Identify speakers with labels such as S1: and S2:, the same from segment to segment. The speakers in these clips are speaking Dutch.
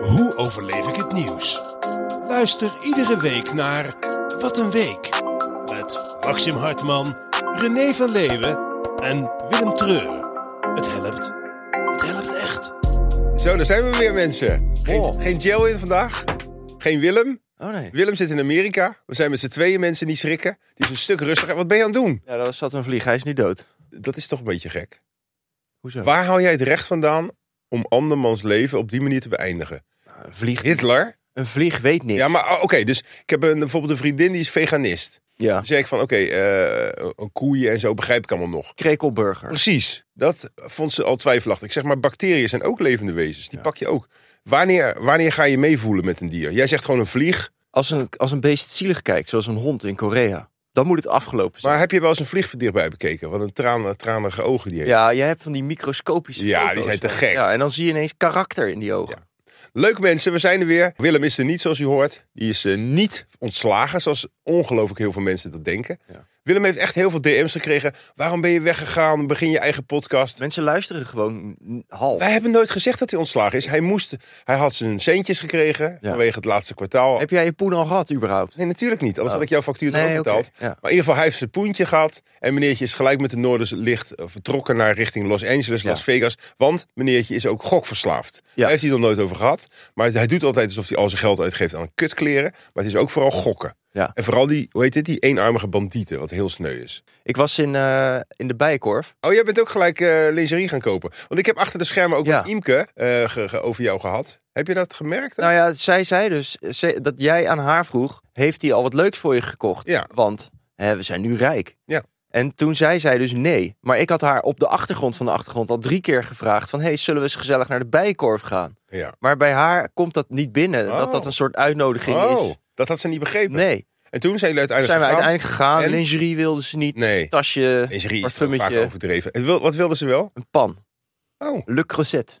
S1: Hoe overleef ik het nieuws? Luister iedere week naar Wat een Week. Met Maxim Hartman, René van Leeuwen en Willem Treur. Het helpt. Het helpt echt.
S2: Zo, daar zijn we weer, mensen. Geen,
S3: Oh.
S2: geen Joe in vandaag. Geen Willem.
S3: Oh nee.
S2: Willem zit in Amerika. We zijn met z'n tweeën mensen die schrikken. Die is een stuk rustiger. Wat ben je aan het doen?
S3: Ja, daar zat een vlieg. Hij is nu dood.
S2: Dat is toch een beetje gek.
S3: Hoezo?
S2: Waar hou jij het recht vandaan om andermans leven op die manier te beëindigen?
S3: Een vlieg,
S2: Hitler?
S3: een vlieg weet niks.
S2: Ja, maar oh, oké. dus ik heb een, bijvoorbeeld een vriendin die is veganist.
S3: Ja.
S2: Dan zeg ik van, oké, eh, een koeien en zo begrijp ik allemaal nog.
S3: Krekelburger.
S2: Precies. Dat vond ze al twijfelachtig. Ik zeg maar, bacteriën zijn ook levende wezens. Die pak je ook. Wanneer, wanneer ga je meevoelen met een dier? Jij zegt gewoon een vlieg.
S3: Als een, als een beest zielig kijkt, zoals een hond in Korea, dan moet het afgelopen zijn.
S2: Maar heb je wel eens een vlieg van dichtbij bekeken? Wat een tranen, tranige ogen die heeft.
S3: Ja, jij hebt van die microscopische
S2: Ja, die
S3: foto's
S2: zijn te
S3: dan.
S2: gek.
S3: Ja, en dan zie je ineens karakter in die ogen.
S2: Leuk mensen, we zijn er weer. Willem is er niet, zoals u hoort. Die is eh, niet ontslagen, zoals ongelooflijk heel veel mensen dat denken.
S3: Ja.
S2: Willem heeft echt heel veel DM's gekregen. Waarom ben je weggegaan? Begin je eigen podcast.
S3: Mensen luisteren gewoon n- half.
S2: Wij hebben nooit gezegd dat hij ontslagen is. Hij, moest, hij had zijn centjes gekregen
S3: Ja.
S2: vanwege het laatste kwartaal.
S3: Heb jij je poen al gehad, überhaupt?
S2: Nee, natuurlijk niet. Anders
S3: Oh.
S2: had ik jouw factuur toch ook
S3: oké.
S2: betaald.
S3: Ja.
S2: Maar in ieder geval, hij heeft zijn poentje gehad. En meneertje is gelijk met de Noorderlicht eh, vertrokken naar richting Los Angeles,
S3: Ja.
S2: Las Vegas. Want meneertje is ook gokverslaafd. Daar heeft hij het nog nooit over gehad. Maar hij doet altijd alsof hij al zijn geld uitgeeft aan kutkleren. Maar het is ook vooral gokken.
S3: Ja.
S2: En vooral die, hoe heet dit, die eenarmige bandieten, wat heel sneu is.
S3: Ik was in, eh, in de Bijenkorf.
S2: Oh, jij bent ook gelijk eh, lingerie gaan kopen. Want ik heb achter de schermen ook
S3: Ja.
S2: met Imke eh, ge- ge- over jou gehad. Heb je dat gemerkt?
S3: Nou ja, zij zei dus eh, ze- dat jij aan haar vroeg, heeft hij al wat leuks voor je gekocht?
S2: Ja.
S3: Want hè, we zijn nu rijk.
S2: Ja.
S3: En toen zei zij dus nee. Maar ik had haar op de achtergrond van de achtergrond al drie keer gevraagd van... hey, zullen we eens gezellig naar de Bijenkorf gaan?
S2: ja.
S3: Maar bij haar komt dat niet binnen,
S2: Oh.
S3: dat dat een soort uitnodiging
S2: Oh,
S3: is.
S2: dat had ze niet begrepen.
S3: Nee,
S2: En toen zijn jullie
S3: zijn we
S2: uiteindelijk gegaan?
S3: uiteindelijk gegaan.
S2: En?
S3: Lingerie wilden ze niet,
S2: Nee.
S3: tasje,
S2: Lingerie is toch
S3: Parfummetje.
S2: vaak overdreven. En wil- wat wilden ze wel?
S3: een pan.
S2: Oh,
S3: Le Creuset.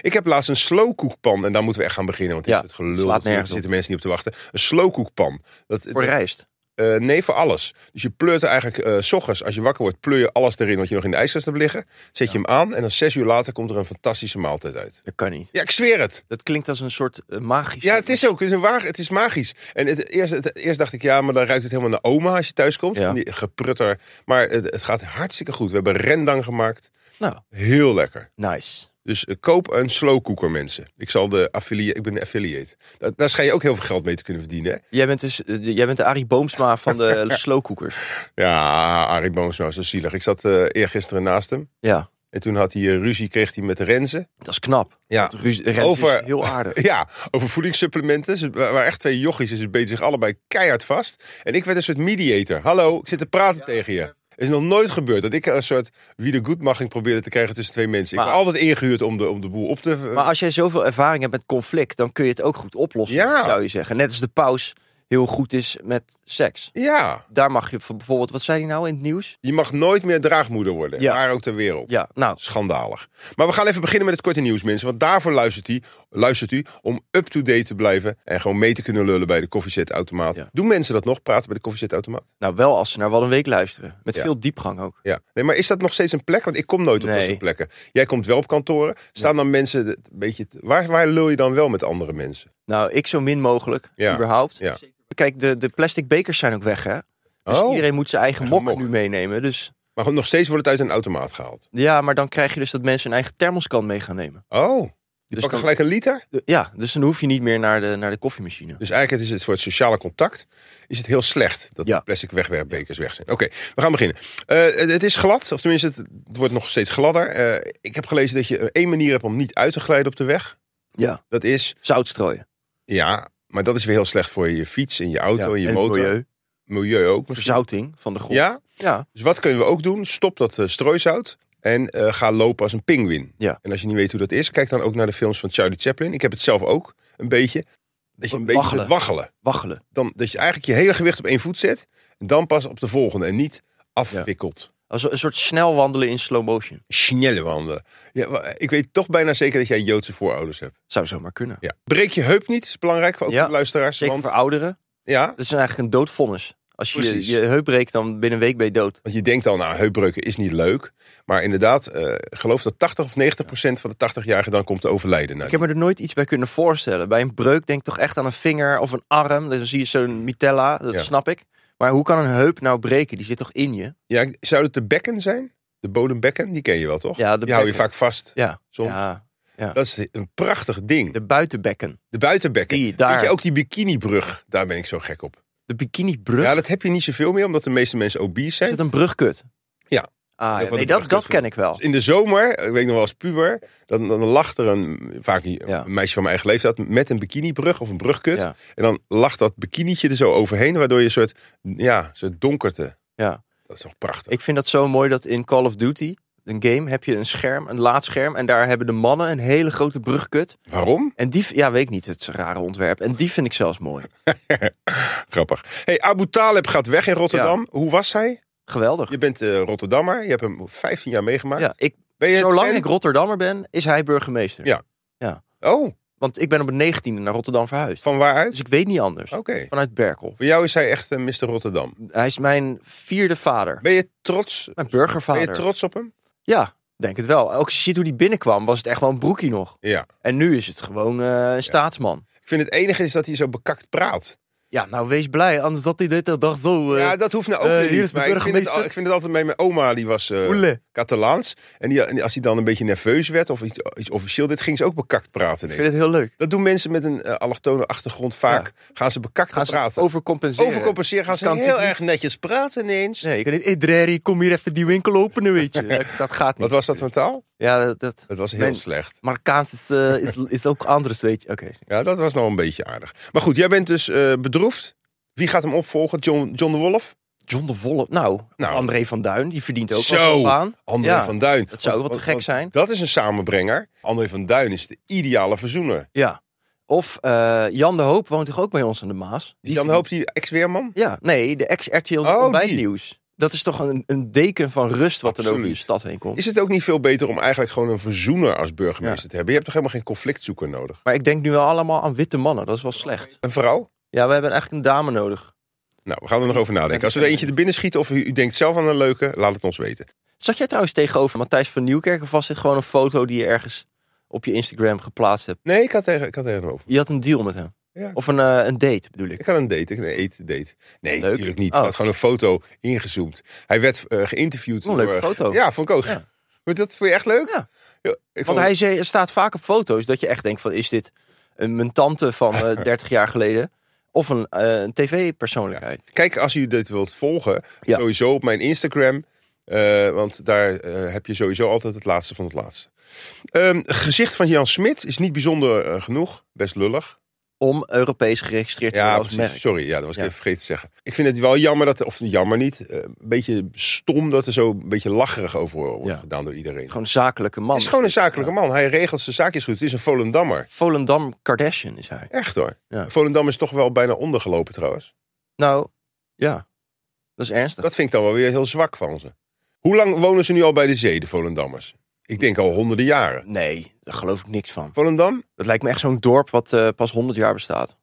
S2: ik heb laatst een slowkoekpan. En daar moeten we echt gaan beginnen. Want dit
S3: Ja,
S2: is het gelul.
S3: slaat
S2: natuurlijk,
S3: nergens
S2: Daar zitten mensen niet op te wachten. Een slowkoekpan. Dat,
S3: Voor
S2: dat-
S3: rijst.
S2: eh, nee, voor alles. Dus je pleurt er eigenlijk, eh, s ochtends als je wakker wordt, pleur je alles erin wat je nog in de ijskast hebt liggen. Zet je hem aan en dan zes uur later komt er een fantastische maaltijd uit.
S3: Dat kan niet.
S2: Ja, ik zweer het.
S3: Dat klinkt als een soort eh, magische...
S2: Ja, het is ook. Het is, een waar, het is magisch. En het, eerst, het- eerst dacht ik, ja, maar dan ruikt het helemaal naar oma als je thuis komt.
S3: Ja.
S2: Van Die geprutter. Maar het, het gaat hartstikke goed. We hebben rendang gemaakt.
S3: Nou,
S2: Heel lekker.
S3: nice.
S2: Dus eh, koop een slowcooker, mensen. Ik zal de affiliate, ik ben de affiliate. Daar, daar schijn je ook heel veel geld mee te kunnen verdienen. Hè?
S3: Jij bent, dus, eh, de- jij bent de Arie Boomsma van de slowcookers.
S2: Ja, Arie Boomsma is zo zielig. Ik zat eh eergisteren naast hem.
S3: Ja,
S2: En toen had hij eh, ruzie, kreeg hij met Renze.
S3: dat is knap.
S2: Ja,
S3: Want Ruud- Rens
S2: over-
S3: is heel aardig.
S2: ja over voedingssupplementen. Ze wa- waren echt twee jochies en ze beten zich allebei keihard vast. En ik werd een soort mediator. Hallo, ik zit te praten tegen je. Het is nog nooit gebeurd dat ik een soort wiedergoedmaching probeerde te krijgen tussen twee mensen. ik
S3: Maar-
S2: word altijd ingehuurd om de, om de boel op te...
S3: Maar als jij zoveel ervaring hebt met conflict, dan kun je het ook goed oplossen,
S2: Ja.
S3: zou je zeggen. Net als de paus heel goed is met seks.
S2: Ja,
S3: Daar mag je van bijvoorbeeld, wat zei hij nou in het nieuws?
S2: je mag nooit meer draagmoeder worden.
S3: Ja.
S2: Waar ook ter wereld.
S3: Ja, nou,
S2: Schandalig. Maar we gaan even beginnen met het korte nieuws, mensen. Want daarvoor luistert u, luistert u om up-to-date te blijven. En gewoon mee te kunnen lullen bij de koffiezetautomaat.
S3: Ja.
S2: Doen mensen dat nog, praten bij de koffiezetautomaat?
S3: nou, wel als ze naar Wat een Week luisteren. Met
S2: Ja.
S3: veel diepgang ook.
S2: Ja. Nee, maar is dat nog steeds een plek? Want ik kom nooit op dat
S3: Nee.
S2: soort plekken. Jij komt wel op kantoren. Staan dan mensen het- een beetje... te- Waar, waar lul je dan wel met andere mensen?
S3: Nou, ik zo min mogelijk,
S2: Ja.
S3: überhaupt.
S2: Ja.
S3: Kijk, de, de plastic bekers zijn ook weg, hè? Dus
S2: Oh.
S3: iedereen moet zijn eigen
S2: Eigen
S3: mok,
S2: mok.
S3: nu meenemen. Dus
S2: Maar goed, nog steeds wordt het uit een automaat gehaald.
S3: ja, maar dan krijg je dus dat mensen hun eigen thermoskan mee gaan nemen.
S2: Oh, die
S3: Dus
S2: pakken
S3: dan-
S2: gelijk een liter?
S3: De- Ja, dus dan hoef je niet meer naar de, naar de koffiemachine.
S2: Dus eigenlijk is het voor het sociale contact is het heel slecht dat
S3: Ja.
S2: de plastic wegwerpbekers weg zijn. Oké, we gaan beginnen. Eh, het, het is glad, of tenminste, het, het wordt nog steeds gladder. Eh, ik heb gelezen dat je één manier hebt om niet uit te glijden op de weg.
S3: Ja.
S2: Dat is,
S3: Zout strooien.
S2: ja, maar dat is weer heel slecht voor je fiets en je auto
S3: Ja,
S2: en je
S3: het
S2: motor.
S3: milieu.
S2: Milieu ook. misschien.
S3: Verzouting van de grond.
S2: Ja,
S3: Ja.
S2: dus wat kunnen we ook doen? Stop dat eh, strooisout en eh, ga lopen als een pinguïn.
S3: Ja.
S2: En als je niet weet hoe dat is, kijk dan ook naar de films van Charlie Chaplin. Ik heb het zelf ook, een beetje. Dat je een beetje
S3: Waggelen.
S2: gaat waggelen.
S3: Waggelen.
S2: dan, dat je eigenlijk je hele gewicht op één voet zet. En dan pas op de volgende. En niet afwikkeld.
S3: Als een soort snel wandelen in slow motion.
S2: Snelle wandelen. Ja, wa- ik weet toch bijna zeker dat jij Joodse voorouders hebt.
S3: Zou zomaar kunnen.
S2: Ja. Breek je heup niet, is belangrijk voor, ook
S3: Ja,
S2: voor de luisteraars.
S3: Zeker
S2: want
S3: voor ouderen.
S2: ja,
S3: Dat is eigenlijk een doodvonnis. Als je je,
S2: Precies.
S3: je heup breekt, dan binnen een week ben je dood.
S2: Want je denkt al, nou, heupbreuken is niet leuk. Maar inderdaad, eh, geloof dat 80 of 90 procent van de 80-jarigen dan komt te overlijden. Nou,
S3: Ik heb me er nooit iets bij kunnen voorstellen. Bij een breuk denk ik toch echt aan een vinger of een arm. Dus dan zie je zo'n mitella, dat
S2: Ja.
S3: snap ik. Maar hoe kan een heup nou breken? Die zit toch in je?
S2: Ja, ik- zou het de bekken zijn? De bodembekken, die ken je wel, toch?
S3: Ja, de
S2: die hou je
S3: bekken.
S2: vaak vast.
S3: Ja,
S2: Soms.
S3: ja
S2: Dat is een prachtig ding. De,
S3: de buitenbekken.
S2: buitenbekken.
S3: Die, daar.
S2: Weet je, ook die bikinibrug, daar ben ik zo gek op.
S3: De bikinibrug.
S2: Ja, dat heb je niet zoveel meer, omdat de meeste mensen obese
S3: Is
S2: zijn.
S3: het een brugkut?
S2: Ja.
S3: Ah,
S2: Ja,
S3: nee,
S2: wat
S3: dat,
S2: een
S3: dat
S2: brugkut.
S3: ken ik wel.
S2: Dus In de zomer, ik weet nog wel als puber, dan, dan lacht er een, vaak een
S3: Ja.
S2: meisje van mijn eigen leeftijd met een bikinibrug of een brugkut.
S3: Ja.
S2: En dan lacht dat bikinietje er zo overheen, waardoor je een soort, ja, een soort donkerte.
S3: Ja.
S2: Dat is toch prachtig.
S3: Ik vind dat zo mooi dat in Call of Duty, een game, heb je een scherm, een laadscherm. En daar hebben de mannen een hele grote brugkut.
S2: Waarom?
S3: En die, v- ja, weet ik niet, het is een rare ontwerp. En die vind ik zelfs mooi.
S2: Grappig. Hey, Abu Talib gaat weg in Rotterdam. Hoe was hij?
S3: Geweldig.
S2: Je bent eh, Rotterdammer. Je hebt hem 15 jaar meegemaakt.
S3: Ja, ik,
S2: Ben je het
S3: zolang
S2: fan?
S3: ik Rotterdammer ben, is hij burgemeester.
S2: Ja. Oh,
S3: Want ik ben op een 19e naar Rotterdam verhuisd.
S2: van waaruit?
S3: Dus ik weet niet anders.
S2: Oké.
S3: Vanuit Berkel.
S2: Voor jou is hij echt een Mr. Rotterdam.
S3: Hij is mijn vierde vader.
S2: Ben je trots?
S3: Mijn
S2: Ben
S3: burgervader.
S2: je trots op hem?
S3: Ja, denk het wel. Ook als je ziet hoe die binnenkwam, was het echt wel een broekie nog.
S2: Ja.
S3: En nu is het gewoon eh, een staatsman.
S2: Ik vind het enige is dat hij zo bekakt praat.
S3: Ja, nou wees blij, anders had hij dit de dag zo... eh,
S2: Ja, dat hoeft nou ook
S3: eh,
S2: weer
S3: hier
S2: niet.
S3: is de
S2: Maar ik vind, het, al-
S3: burgemeester.
S2: ik vind het altijd bij mijn oma, die was eh,
S3: Oele.
S2: Catalaans. En die, en als hij dan een beetje nerveus werd of iets, iets officieel, dit ging ze ook bekakt praten.
S3: Ik
S2: ineens.
S3: vind het heel leuk.
S2: Dat doen mensen met een eh allochtone achtergrond vaak. Gaan ze bekakt
S3: Gaan ze
S2: praten.
S3: overcompenseren.
S2: Overcompenseren gaan
S3: Dat
S2: ze
S3: kan
S2: heel
S3: natuurlijk
S2: erg netjes praten ineens.
S3: Nee, ik kan niet... Hey, Drerry, kom hier even die winkel openen, weet je. Dat, dat gaat niet.
S2: Wat was dat voor taal?
S3: Ja, dat... dat...
S2: Dat was heel
S3: Mijn-
S2: slecht.
S3: Marokkaans is, eh, is, is ook anders, weet je. Oké.
S2: Ja, dat was nou een beetje aardig. Maar goed, jij bent dus eh, bedroefd. Wie gaat hem opvolgen? John, John de Wolf?
S3: John de Wolle. Nou,
S2: Nou.
S3: André van Duin, die verdient ook
S2: Zo.
S3: wel een baan.
S2: André
S3: Ja,
S2: van Duin.
S3: dat zou ook wel te gek zijn.
S2: Dat is een samenbrenger. André van Duin is de ideale verzoener.
S3: Ja. Of eh, Jan de Hoop woont toch ook bij ons in de Maas?
S2: Is Jan
S3: verdient-
S2: Hoop die ex-weerman?
S3: Ja, nee, de ex-RTL
S2: Oh,
S3: ontbijtnieuws. Dat is toch een, een deken van rust wat er over je
S2: Absoluut.
S3: stad heen komt.
S2: Is het ook niet veel beter om eigenlijk gewoon een verzoener als burgemeester te hebben? Je hebt toch helemaal geen conflictzoeker nodig?
S3: Maar ik denk nu wel allemaal aan witte mannen. Dat is wel slecht.
S2: Een vrouw?
S3: Ja, we hebben eigenlijk een dame nodig.
S2: Nou, we gaan er nog over nadenken. Als er eentje er binnen schiet of u, u denkt zelf aan een leuke, laat het ons weten.
S3: Zag jij trouwens tegenover Matthijs van Nieuwkerk of was dit gewoon een foto die je ergens op je Instagram geplaatst hebt?
S2: Nee, ik had tegen, ik had tegen hem over.
S3: Je had een deal met hem.
S2: Ja.
S3: Of een, eh, een date bedoel ik.
S2: Ik had een date, ik- een eten date. Nee,
S3: Leuk.
S2: natuurlijk niet.
S3: Oh.
S2: Ik had gewoon een foto ingezoomd. Hij werd eh, geïnterviewd.
S3: Wel een leuke
S2: door-
S3: foto.
S2: Ja, vond ik ook.
S3: Oh. Ja.
S2: Maar dat vond je echt leuk?
S3: Ja.
S2: Ja, ik vond
S3: Want hij zei- staat vaak op foto's dat je echt denkt van is dit een mijn tante van eh, 30 jaar geleden of een, eh, een tv-persoonlijkheid.
S2: Kijk, als u dit wilt volgen,
S3: Ja.
S2: sowieso op mijn Instagram. eh, want daar eh, heb je sowieso altijd het laatste van het laatste. Ehm, gezicht van Jan Smit is niet bijzonder eh, genoeg. Best lullig.
S3: Om Europees geregistreerd te
S2: Ja,
S3: worden als
S2: precies.
S3: merk.
S2: Sorry, ja, dat was
S3: Ja.
S2: ik even vergeten te zeggen. Ik vind het wel jammer dat, of jammer niet, eh, een beetje stom dat er zo een beetje lacherig over wordt
S3: Ja.
S2: gedaan door iedereen.
S3: Gewoon een zakelijke man.
S2: Het is gewoon een zakelijke man. Hij regelt zijn zaakjes goed. Het is een Volendammer.
S3: Volendam Kardashian is hij.
S2: Echt hoor.
S3: Ja.
S2: Volendam is toch wel bijna ondergelopen trouwens.
S3: Nou, ja. Dat is ernstig.
S2: Dat vind ik dan wel weer heel zwak van ze. Hoe lang wonen ze nu al bij de zee, de Volendammers? Ik denk al honderden jaren.
S3: Nee, daar geloof ik niks van.
S2: Volendam?
S3: Dat lijkt me echt zo'n dorp wat eh, pas 100 jaar bestaat.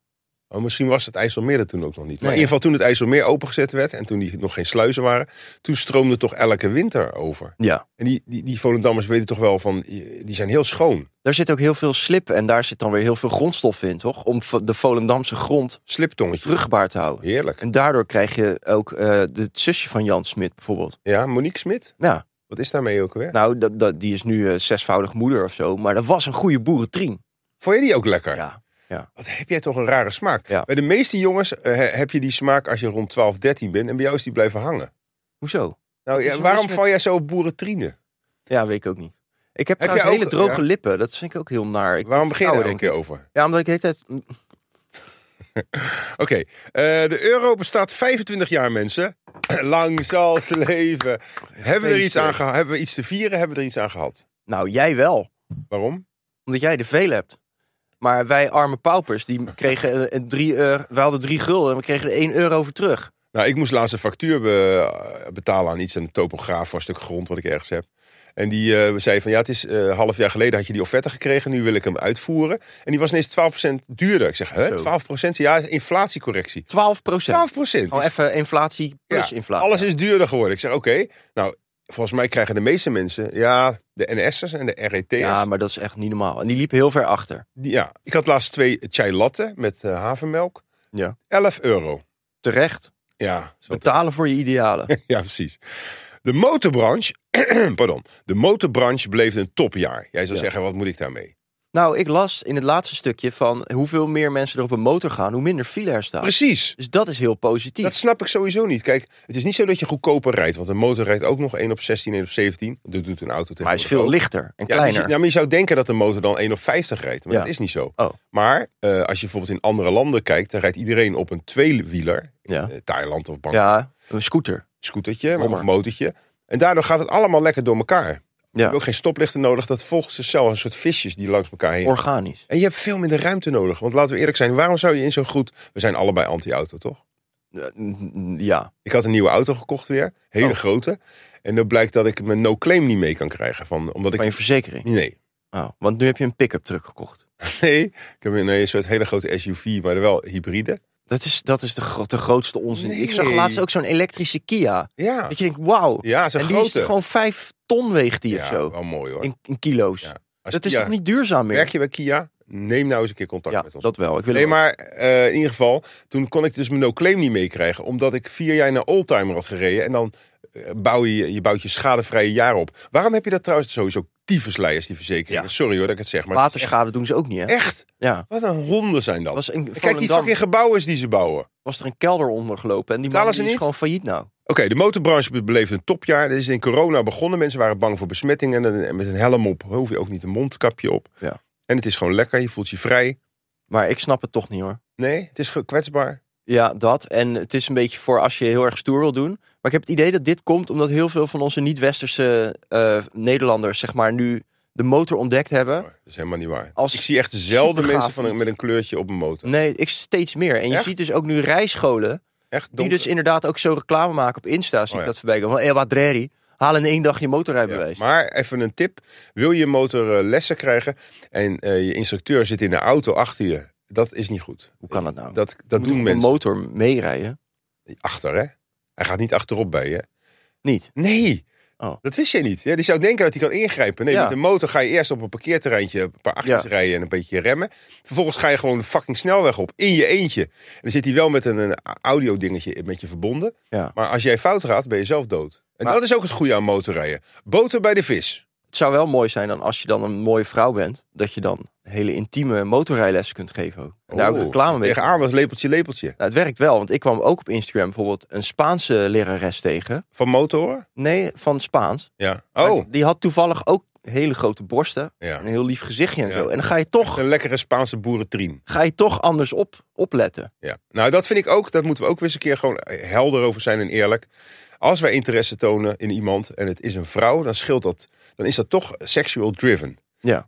S2: Oh, misschien was het IJsselmeer er toen ook nog niet. Maar
S3: Nee.
S2: in ieder geval toen het IJsselmeer opengezet werd... en toen die nog geen sluizen waren... toen stroomde toch elke winter over.
S3: Ja.
S2: En die, die, die Volendammers weten toch wel van... die zijn heel schoon.
S3: Daar zit ook heel veel slip en daar zit dan weer heel veel grondstof in, toch? Om vo- de Volendamse grond
S2: Sliptongetje.
S3: vruchtbaar te houden.
S2: Heerlijk.
S3: En daardoor krijg je ook eh, het zusje van Jan Smit bijvoorbeeld.
S2: Ja, Monique Smit?
S3: Ja,
S2: Wat is daarmee ook weer?
S3: Nou, dat, dat, die is nu eh, zesvoudig moeder of zo. Maar dat was een goede boerentrien.
S2: Vond je die ook lekker?
S3: Ja.
S2: Wat heb jij toch een rare smaak.
S3: Ja.
S2: Bij de meeste jongens eh, he- heb je die smaak als je rond 12, 13 bent... en bij jou is die blijven hangen.
S3: Hoezo?
S2: Nou,
S3: is
S2: ja,
S3: er
S2: waarom
S3: mis met-
S2: val jij zo op boerentrine?
S3: Ja, weet ik ook niet. Ik heb,
S2: Heb
S3: trouwens
S2: jij ook-
S3: hele droge
S2: ja.
S3: lippen. Dat vind ik ook heel naar. Ik
S2: Waarom begin je daar
S3: vrouwen,
S2: een keer over?
S3: Ja, omdat ik de hele tijd... mm,
S2: Oké, eh, de euro bestaat 25 jaar, mensen. Lang zal ze leven. Hebben we, er iets
S3: feestje.
S2: aan geha- hebben we iets te vieren? Hebben we er iets aan gehad?
S3: Nou, jij wel.
S2: Waarom?
S3: Omdat jij de veel hebt. Maar wij arme paupers, die kregen eh, een drie... eh we hadden drie gulden en we kregen er één euro voor terug.
S2: eh, Nou, ik moest laatst een factuur be- betalen aan iets, een topograaf voor een stuk grond wat ik ergens heb. En die eh, zei van ja, het is eh, half jaar geleden had je die offerte gekregen, nu wil ik hem uitvoeren. En die was ineens 12% duurder. Ik zeg, hè,
S3: Zo.
S2: 12%? Ja, inflatiecorrectie.
S3: 12
S2: 12%. procent.
S3: Gewoon Oh, even inflatie plus
S2: Dus Ja,
S3: inflatie.
S2: Alles is duurder geworden. Ik zeg, oké, nou, volgens mij krijgen de meeste mensen, ja, de NS'ers en de E RET'ers.
S3: Ja,
S2: Ja.
S3: maar dat is echt niet normaal. En die liepen heel ver achter.
S2: ja, ik had laatst twee chai latte met eh, havermelk.
S3: Ja.
S2: 11 euro.
S3: Terecht.
S2: Ja, zo-
S3: Betalen voor je idealen.
S2: ja, precies. De motorbranche, pardon, de motorbranche bleef een topjaar. Jij zou
S3: Ja.
S2: zeggen, wat moet ik daarmee?
S3: nou, ik las in het laatste stukje van hoeveel meer mensen er op een motor gaan, hoe minder file er staat.
S2: Precies.
S3: Dus dat is heel positief.
S2: Dat snap ik sowieso niet. Kijk, het is niet zo dat je goedkoper rijdt. Want een motor rijdt ook nog 1 op 16, 1 op 17. Dat doet een auto tegenwoordig
S3: maar hij is veel
S2: ook.
S3: lichter
S2: Ja,
S3: en kleiner.
S2: dus je- ja, maar je zou denken dat de motor dan 1 op 50 rijdt. Maar
S3: Ja.
S2: dat is niet zo.
S3: Oh.
S2: Maar eh, als je bijvoorbeeld in andere landen kijkt, dan rijdt iedereen op een tweewieler. In
S3: Ja.
S2: eh, Thailand of Bangkok,
S3: Ja, een scooter.
S2: scootertje
S3: Brommer.
S2: of motortje. En daardoor gaat het allemaal lekker door elkaar. Je
S3: Ja,
S2: hebt ook geen stoplichten nodig. Dat volgt zichzelf als een soort visjes die langs elkaar heen.
S3: organisch.
S2: en je hebt veel minder ruimte nodig. Want laten we eerlijk zijn, waarom zou je in zo'n goed... We zijn allebei anti-auto, toch?
S3: Eh, mm, Ja,
S2: Ik had een nieuwe auto gekocht weer. Hele
S3: Oh.
S2: grote. En dan blijkt dat ik mijn no-claim niet mee kan krijgen. Van, omdat ik...
S3: van je verzekering.
S2: Nee.
S3: Oh, want nu heb je een pick-up truck gekocht.
S2: Nee. Ik heb een, een soort hele grote SUV, maar wel hybride.
S3: Dat is, dat is de, gro- de grootste onzin. Ik zag
S2: Nee.
S3: laatst ook zo'n elektrische Kia.
S2: Ja.
S3: Dat je denkt, wauw.
S2: Ja, zo'n
S3: En die is
S2: grote.
S3: gewoon vijf ton weegt die
S2: ja,
S3: of zo.
S2: wel mooi hoor.
S3: In, in kilo's.
S2: Ja, Als
S3: Dat is
S2: Kia-
S3: toch niet duurzaam meer?
S2: Werk je bij Kia? Neem nou eens een keer contact
S3: ja,
S2: met ons.
S3: dat wel. Ik wil
S2: Nee,
S3: hem-
S2: maar eh, in ieder geval, toen kon ik dus mijn no-claim niet meekrijgen. Omdat ik vier jaar naar oldtimer had gereden. En dan eh, bouw je, je bouwt je schadevrije jaar op. Waarom heb je dat trouwens sowieso tyfusleiers, die verzekeringen?
S3: Ja.
S2: Sorry hoor dat ik het zeg, maar het is
S3: Waterschade doen ze ook niet, hè?
S2: echt, echt,
S3: Ja.
S2: wat een honden zijn dat.
S3: Was in
S2: En Kijk die
S3: Volendam
S2: fucking gebouwen die ze bouwen. Oké,
S3: was er een kelder ondergelopen en die man
S2: Betalen
S3: die
S2: ze
S3: is
S2: niet?
S3: gewoon failliet nou.
S2: de motorbranche be- beleefde een topjaar. Dit is in corona begonnen. Mensen waren bang voor besmettingen. En en met een helm op hoef je ook niet een mondkapje op.
S3: Ja.
S2: En het is gewoon lekker. Je voelt je vrij.
S3: Maar ik snap het toch niet, hoor.
S2: Nee, het is ge- kwetsbaar.
S3: Ja, dat. En het is een beetje voor als je heel erg stoer wil doen. Maar ik heb het idee dat dit komt omdat heel veel van onze niet-westerse eh, Nederlanders, zeg maar, nu de motor ontdekt hebben.
S2: Dat is helemaal niet waar.
S3: Als
S2: ik zie echt zelden
S3: supergaaf
S2: mensen van een-
S3: iets.
S2: met een kleurtje op een motor.
S3: Nee, ik steeds meer. En je
S2: Echt?
S3: ziet dus ook nu rijscholen,
S2: Echt
S3: die
S2: donker.
S3: dus inderdaad ook zo reclame maken op Insta. Zie ik
S2: Oh ja.
S3: dat voorbij komen. Van, eh, wat drerrie. Haal in één dag je
S2: Ja,
S3: motorrijbewijs.
S2: Maar even een tip. Wil je motor eh, lessen krijgen en eh, je instructeur zit in de auto achter je. Dat is niet goed.
S3: Hoe kan dat nou?
S2: Dat,
S3: Je
S2: dat
S3: moet
S2: doen
S3: toch op
S2: mensen
S3: een motor meerijden?
S2: achter, hè? Hij gaat niet achterop bij je.
S3: Niet.
S2: Nee,
S3: Oh.
S2: dat wist je niet. Ja, die zou denken dat hij kan ingrijpen. Nee,
S3: Ja.
S2: met de motor ga je eerst op een parkeerterreintje een paar achtjes
S3: Ja.
S2: rijden en een beetje remmen. Vervolgens ga je gewoon de fucking snelweg op, in je eentje. En dan zit hij wel met een, een audio dingetje met je verbonden.
S3: Ja.
S2: Maar als jij fout gaat, ben je zelf dood. En
S3: Maar-
S2: dat is ook het goede aan motorrijden. Boter bij de vis.
S3: Het zou wel mooi zijn dan als je dan een mooie vrouw bent, dat je dan hele intieme motorrijlessen kunt geven ook. En daar ook
S2: Oh,
S3: reclame mee.
S2: Tegenaan was lepeltje, lepeltje.
S3: Nou, het werkt wel, want ik kwam ook op Instagram bijvoorbeeld een Spaanse lerares tegen.
S2: Van motoren?
S3: Nee, van Spaans.
S2: Ja.
S3: Maar
S2: Oh,
S3: Die had toevallig ook hele grote borsten.
S2: Ja.
S3: Een heel lief gezichtje en
S2: Ja.
S3: zo. En dan ga je toch,
S2: een lekkere Spaanse boerentrien.
S3: ga je toch anders op, opletten.
S2: Ja. Nou, dat vind ik ook. Dat moeten we ook weer eens een keer gewoon eh, helder over zijn en eerlijk. Als wij interesse tonen in iemand en het is een vrouw, dan scheelt dat. Dan is dat toch seksueel driven. eh,
S3: Ja,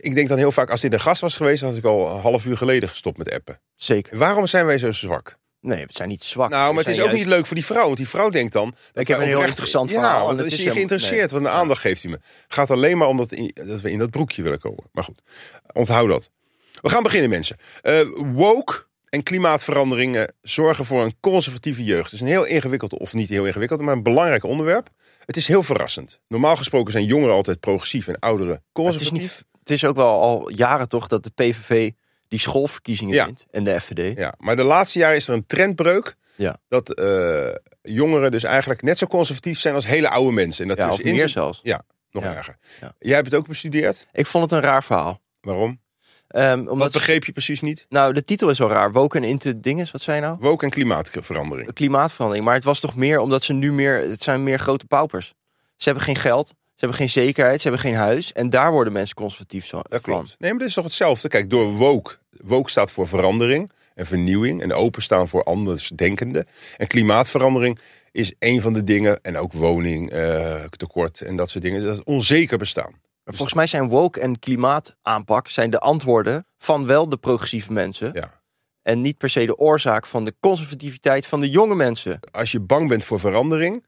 S2: Ik denk dan heel vaak, als dit een gast was geweest, dan had ik al een half uur geleden gestopt met appen.
S3: zeker.
S2: Waarom zijn wij zo zwak?
S3: Nee, we zijn niet zwak.
S2: Nou,
S3: We
S2: maar het
S3: zijn
S2: is ook
S3: juist-
S2: niet leuk voor die vrouw. Want die vrouw denkt dan... dat
S3: Ik
S2: wij
S3: heb een heel
S2: oprecht-
S3: interessant
S2: Ja,
S3: verhaal.
S2: want
S3: en
S2: dan is
S3: het is
S2: hij
S3: helemaal-
S2: geïnteresseerd. Want de aandacht geeft hij me. Gaat alleen maar om dat, in- dat we in dat broekje willen komen. Maar goed, onthoud dat. We gaan beginnen, mensen. Eh, woke en klimaatveranderingen zorgen voor een conservatieve jeugd. Het is een heel ingewikkeld, of niet heel ingewikkeld, maar een belangrijk onderwerp. Het is heel verrassend. Normaal gesproken zijn jongeren altijd progressief en ouderen
S3: Maar Het is,
S2: conservatief.
S3: niet, het is ook wel al jaren toch dat de PVV die schoolverkiezingen
S2: Ja.
S3: wint. En de FVD.
S2: Ja, maar de laatste jaren is er een trendbreuk.
S3: Ja.
S2: Dat eh, jongeren dus eigenlijk net zo conservatief zijn als hele oude mensen. En dat
S3: Ja,
S2: dus
S3: of meer zelfs.
S2: nog
S3: Ja.
S2: erger.
S3: Ja.
S2: Jij hebt het ook bestudeerd.
S3: Ik vond het een raar verhaal.
S2: Waarom?
S3: Ehm,
S2: Wat
S3: omdat,
S2: begreep je precies niet?
S3: nou, de titel is al raar. Woken en into dinges, wat zei je nou?
S2: Woke en klimaatverandering.
S3: Klimaatverandering. Maar het was toch meer omdat ze nu meer... Het zijn meer grote paupers. Ze hebben geen geld. Ze hebben geen zekerheid. Ze hebben geen huis. En daar worden mensen conservatief zo-
S2: Dat
S3: van.
S2: klopt. Nee, maar dat is toch hetzelfde. Kijk, door woke. Woke staat voor verandering en vernieuwing en openstaan voor andersdenkenden. En klimaatverandering is een van de dingen, en ook woning, eh, tekort en dat soort dingen, dat is onzeker bestaan.
S3: Maar volgens mij zijn woke en klimaataanpak... zijn de antwoorden van wel de progressieve mensen.
S2: Ja.
S3: En niet per se de oorzaak van de conservativiteit van de jonge mensen.
S2: Als je bang bent voor verandering,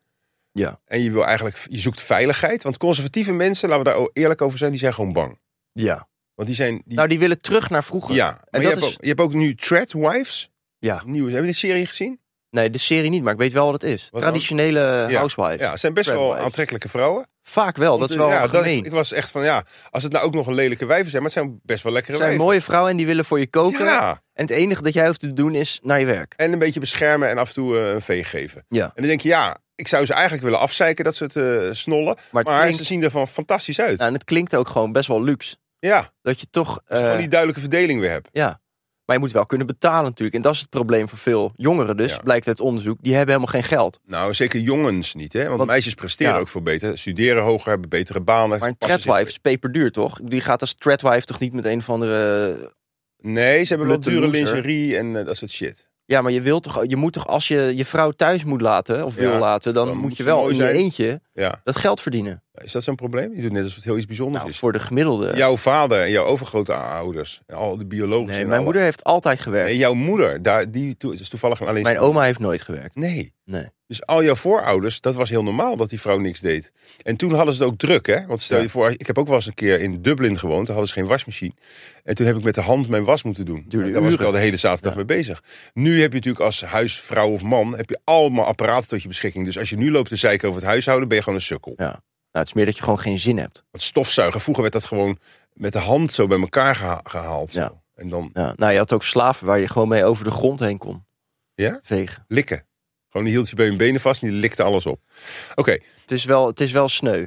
S3: Ja.
S2: En je wil eigenlijk, je zoekt veiligheid. Want conservatieve mensen, laten we daar eerlijk over zijn, die zijn gewoon bang.
S3: Ja.
S2: Want die zijn. Die,
S3: Nou, die willen terug naar vroeger.
S2: ja, maar
S3: en
S2: je,
S3: dat
S2: hebt
S3: is-
S2: ook, je hebt ook nu Threat Wives.
S3: Ja.
S2: Nieuwe, heb je die serie gezien?
S3: Nee, de serie niet, maar ik weet wel wat het is.
S2: dan?
S3: Traditionele
S2: Ja.
S3: housewife.
S2: Ja, het zijn best
S3: Threat
S2: wel
S3: Wives.
S2: aantrekkelijke vrouwen.
S3: Vaak wel, dat is wel
S2: ja,
S3: gemeen.
S2: ik was echt van ja, als het nou ook nog een lelijke wijven zijn, maar het zijn best wel lekkere
S3: Het zijn
S2: wijven.
S3: mooie vrouwen en die willen voor je koken.
S2: Ja,
S3: En het enige dat jij hoeft te doen is naar je werk.
S2: en een beetje beschermen en af en toe eh, een veeg geven.
S3: Ja.
S2: En dan denk je ja, ik zou ze eigenlijk willen afzeiken dat ze het eh, snollen.
S3: Maar, het
S2: Maar
S3: klinkt,
S2: ze zien er van fantastisch uit.
S3: nou, en het klinkt ook gewoon best wel luxe.
S2: ja, als
S3: Dat je toch...
S2: je
S3: eh,
S2: gewoon die duidelijke verdeling weer hebt.
S3: Ja. Maar je moet wel kunnen betalen natuurlijk. En dat is het probleem voor veel jongeren dus,
S2: Ja.
S3: blijkt uit onderzoek. Die hebben helemaal geen geld.
S2: Nou, zeker jongens niet, hè? Want,
S3: Want-
S2: meisjes presteren
S3: ja.
S2: ook veel beter. Studeren hoger, hebben betere banen.
S3: Maar een
S2: passen zich-
S3: tradwife is peperduur, toch? Die gaat als tradwife toch niet met een of andere...
S2: Nee, ze hebben wel
S3: Blutte
S2: dure
S3: loser.
S2: lingerie en eh, dat soort shit.
S3: Ja, maar je, wilt toch, je moet toch, als je je vrouw thuis moet laten, of
S2: Ja,
S3: wil laten... dan,
S2: dan
S3: moet
S2: moet
S3: je
S2: ze
S3: wel
S2: mooi
S3: in je
S2: zijn.
S3: eentje
S2: Ja.
S3: dat geld verdienen.
S2: Is dat zo'n probleem? Je doet net alsof het heel iets bijzonders
S3: Nou,
S2: is.
S3: voor de gemiddelde...
S2: Jouw vader en jouw overgrote ouders, al de biologische. en
S3: nee, mijn
S2: alle-
S3: moeder heeft altijd gewerkt.
S2: Nee, jouw moeder, daar, die to- is toevallig een alleen.
S3: mijn oma heeft nooit gewerkt.
S2: Nee.
S3: Nee.
S2: Dus al jouw voorouders, dat was heel normaal dat die vrouw niks deed. En toen hadden ze het ook druk, hè? Want stel
S3: Ja.
S2: je voor, ik heb ook wel eens een keer in Dublin gewoond, daar hadden ze geen wasmachine. En toen heb ik met de hand mijn was moeten doen.
S3: Duurde
S2: daar was ik
S3: uren.
S2: al de hele zaterdag
S3: Ja.
S2: mee bezig. Nu heb je natuurlijk als huisvrouw of man, heb je allemaal apparaten tot je beschikking. Dus als je nu loopt te zeiken over het huishouden, ben je gewoon een sukkel.
S3: Nou, het is meer dat je gewoon geen zin hebt.
S2: Want stofzuigen, vroeger werd dat gewoon met de hand zo bij elkaar geha- gehaald.
S3: Ja.
S2: zo. En dan
S3: Ja, nou, je had ook slaven waar je gewoon mee over de grond heen kon.
S2: Ja?
S3: Vegen.
S2: likken. Gewoon die hield je bij hun benen vast en die likte alles op. Oké,
S3: Het is wel, het is wel sneu.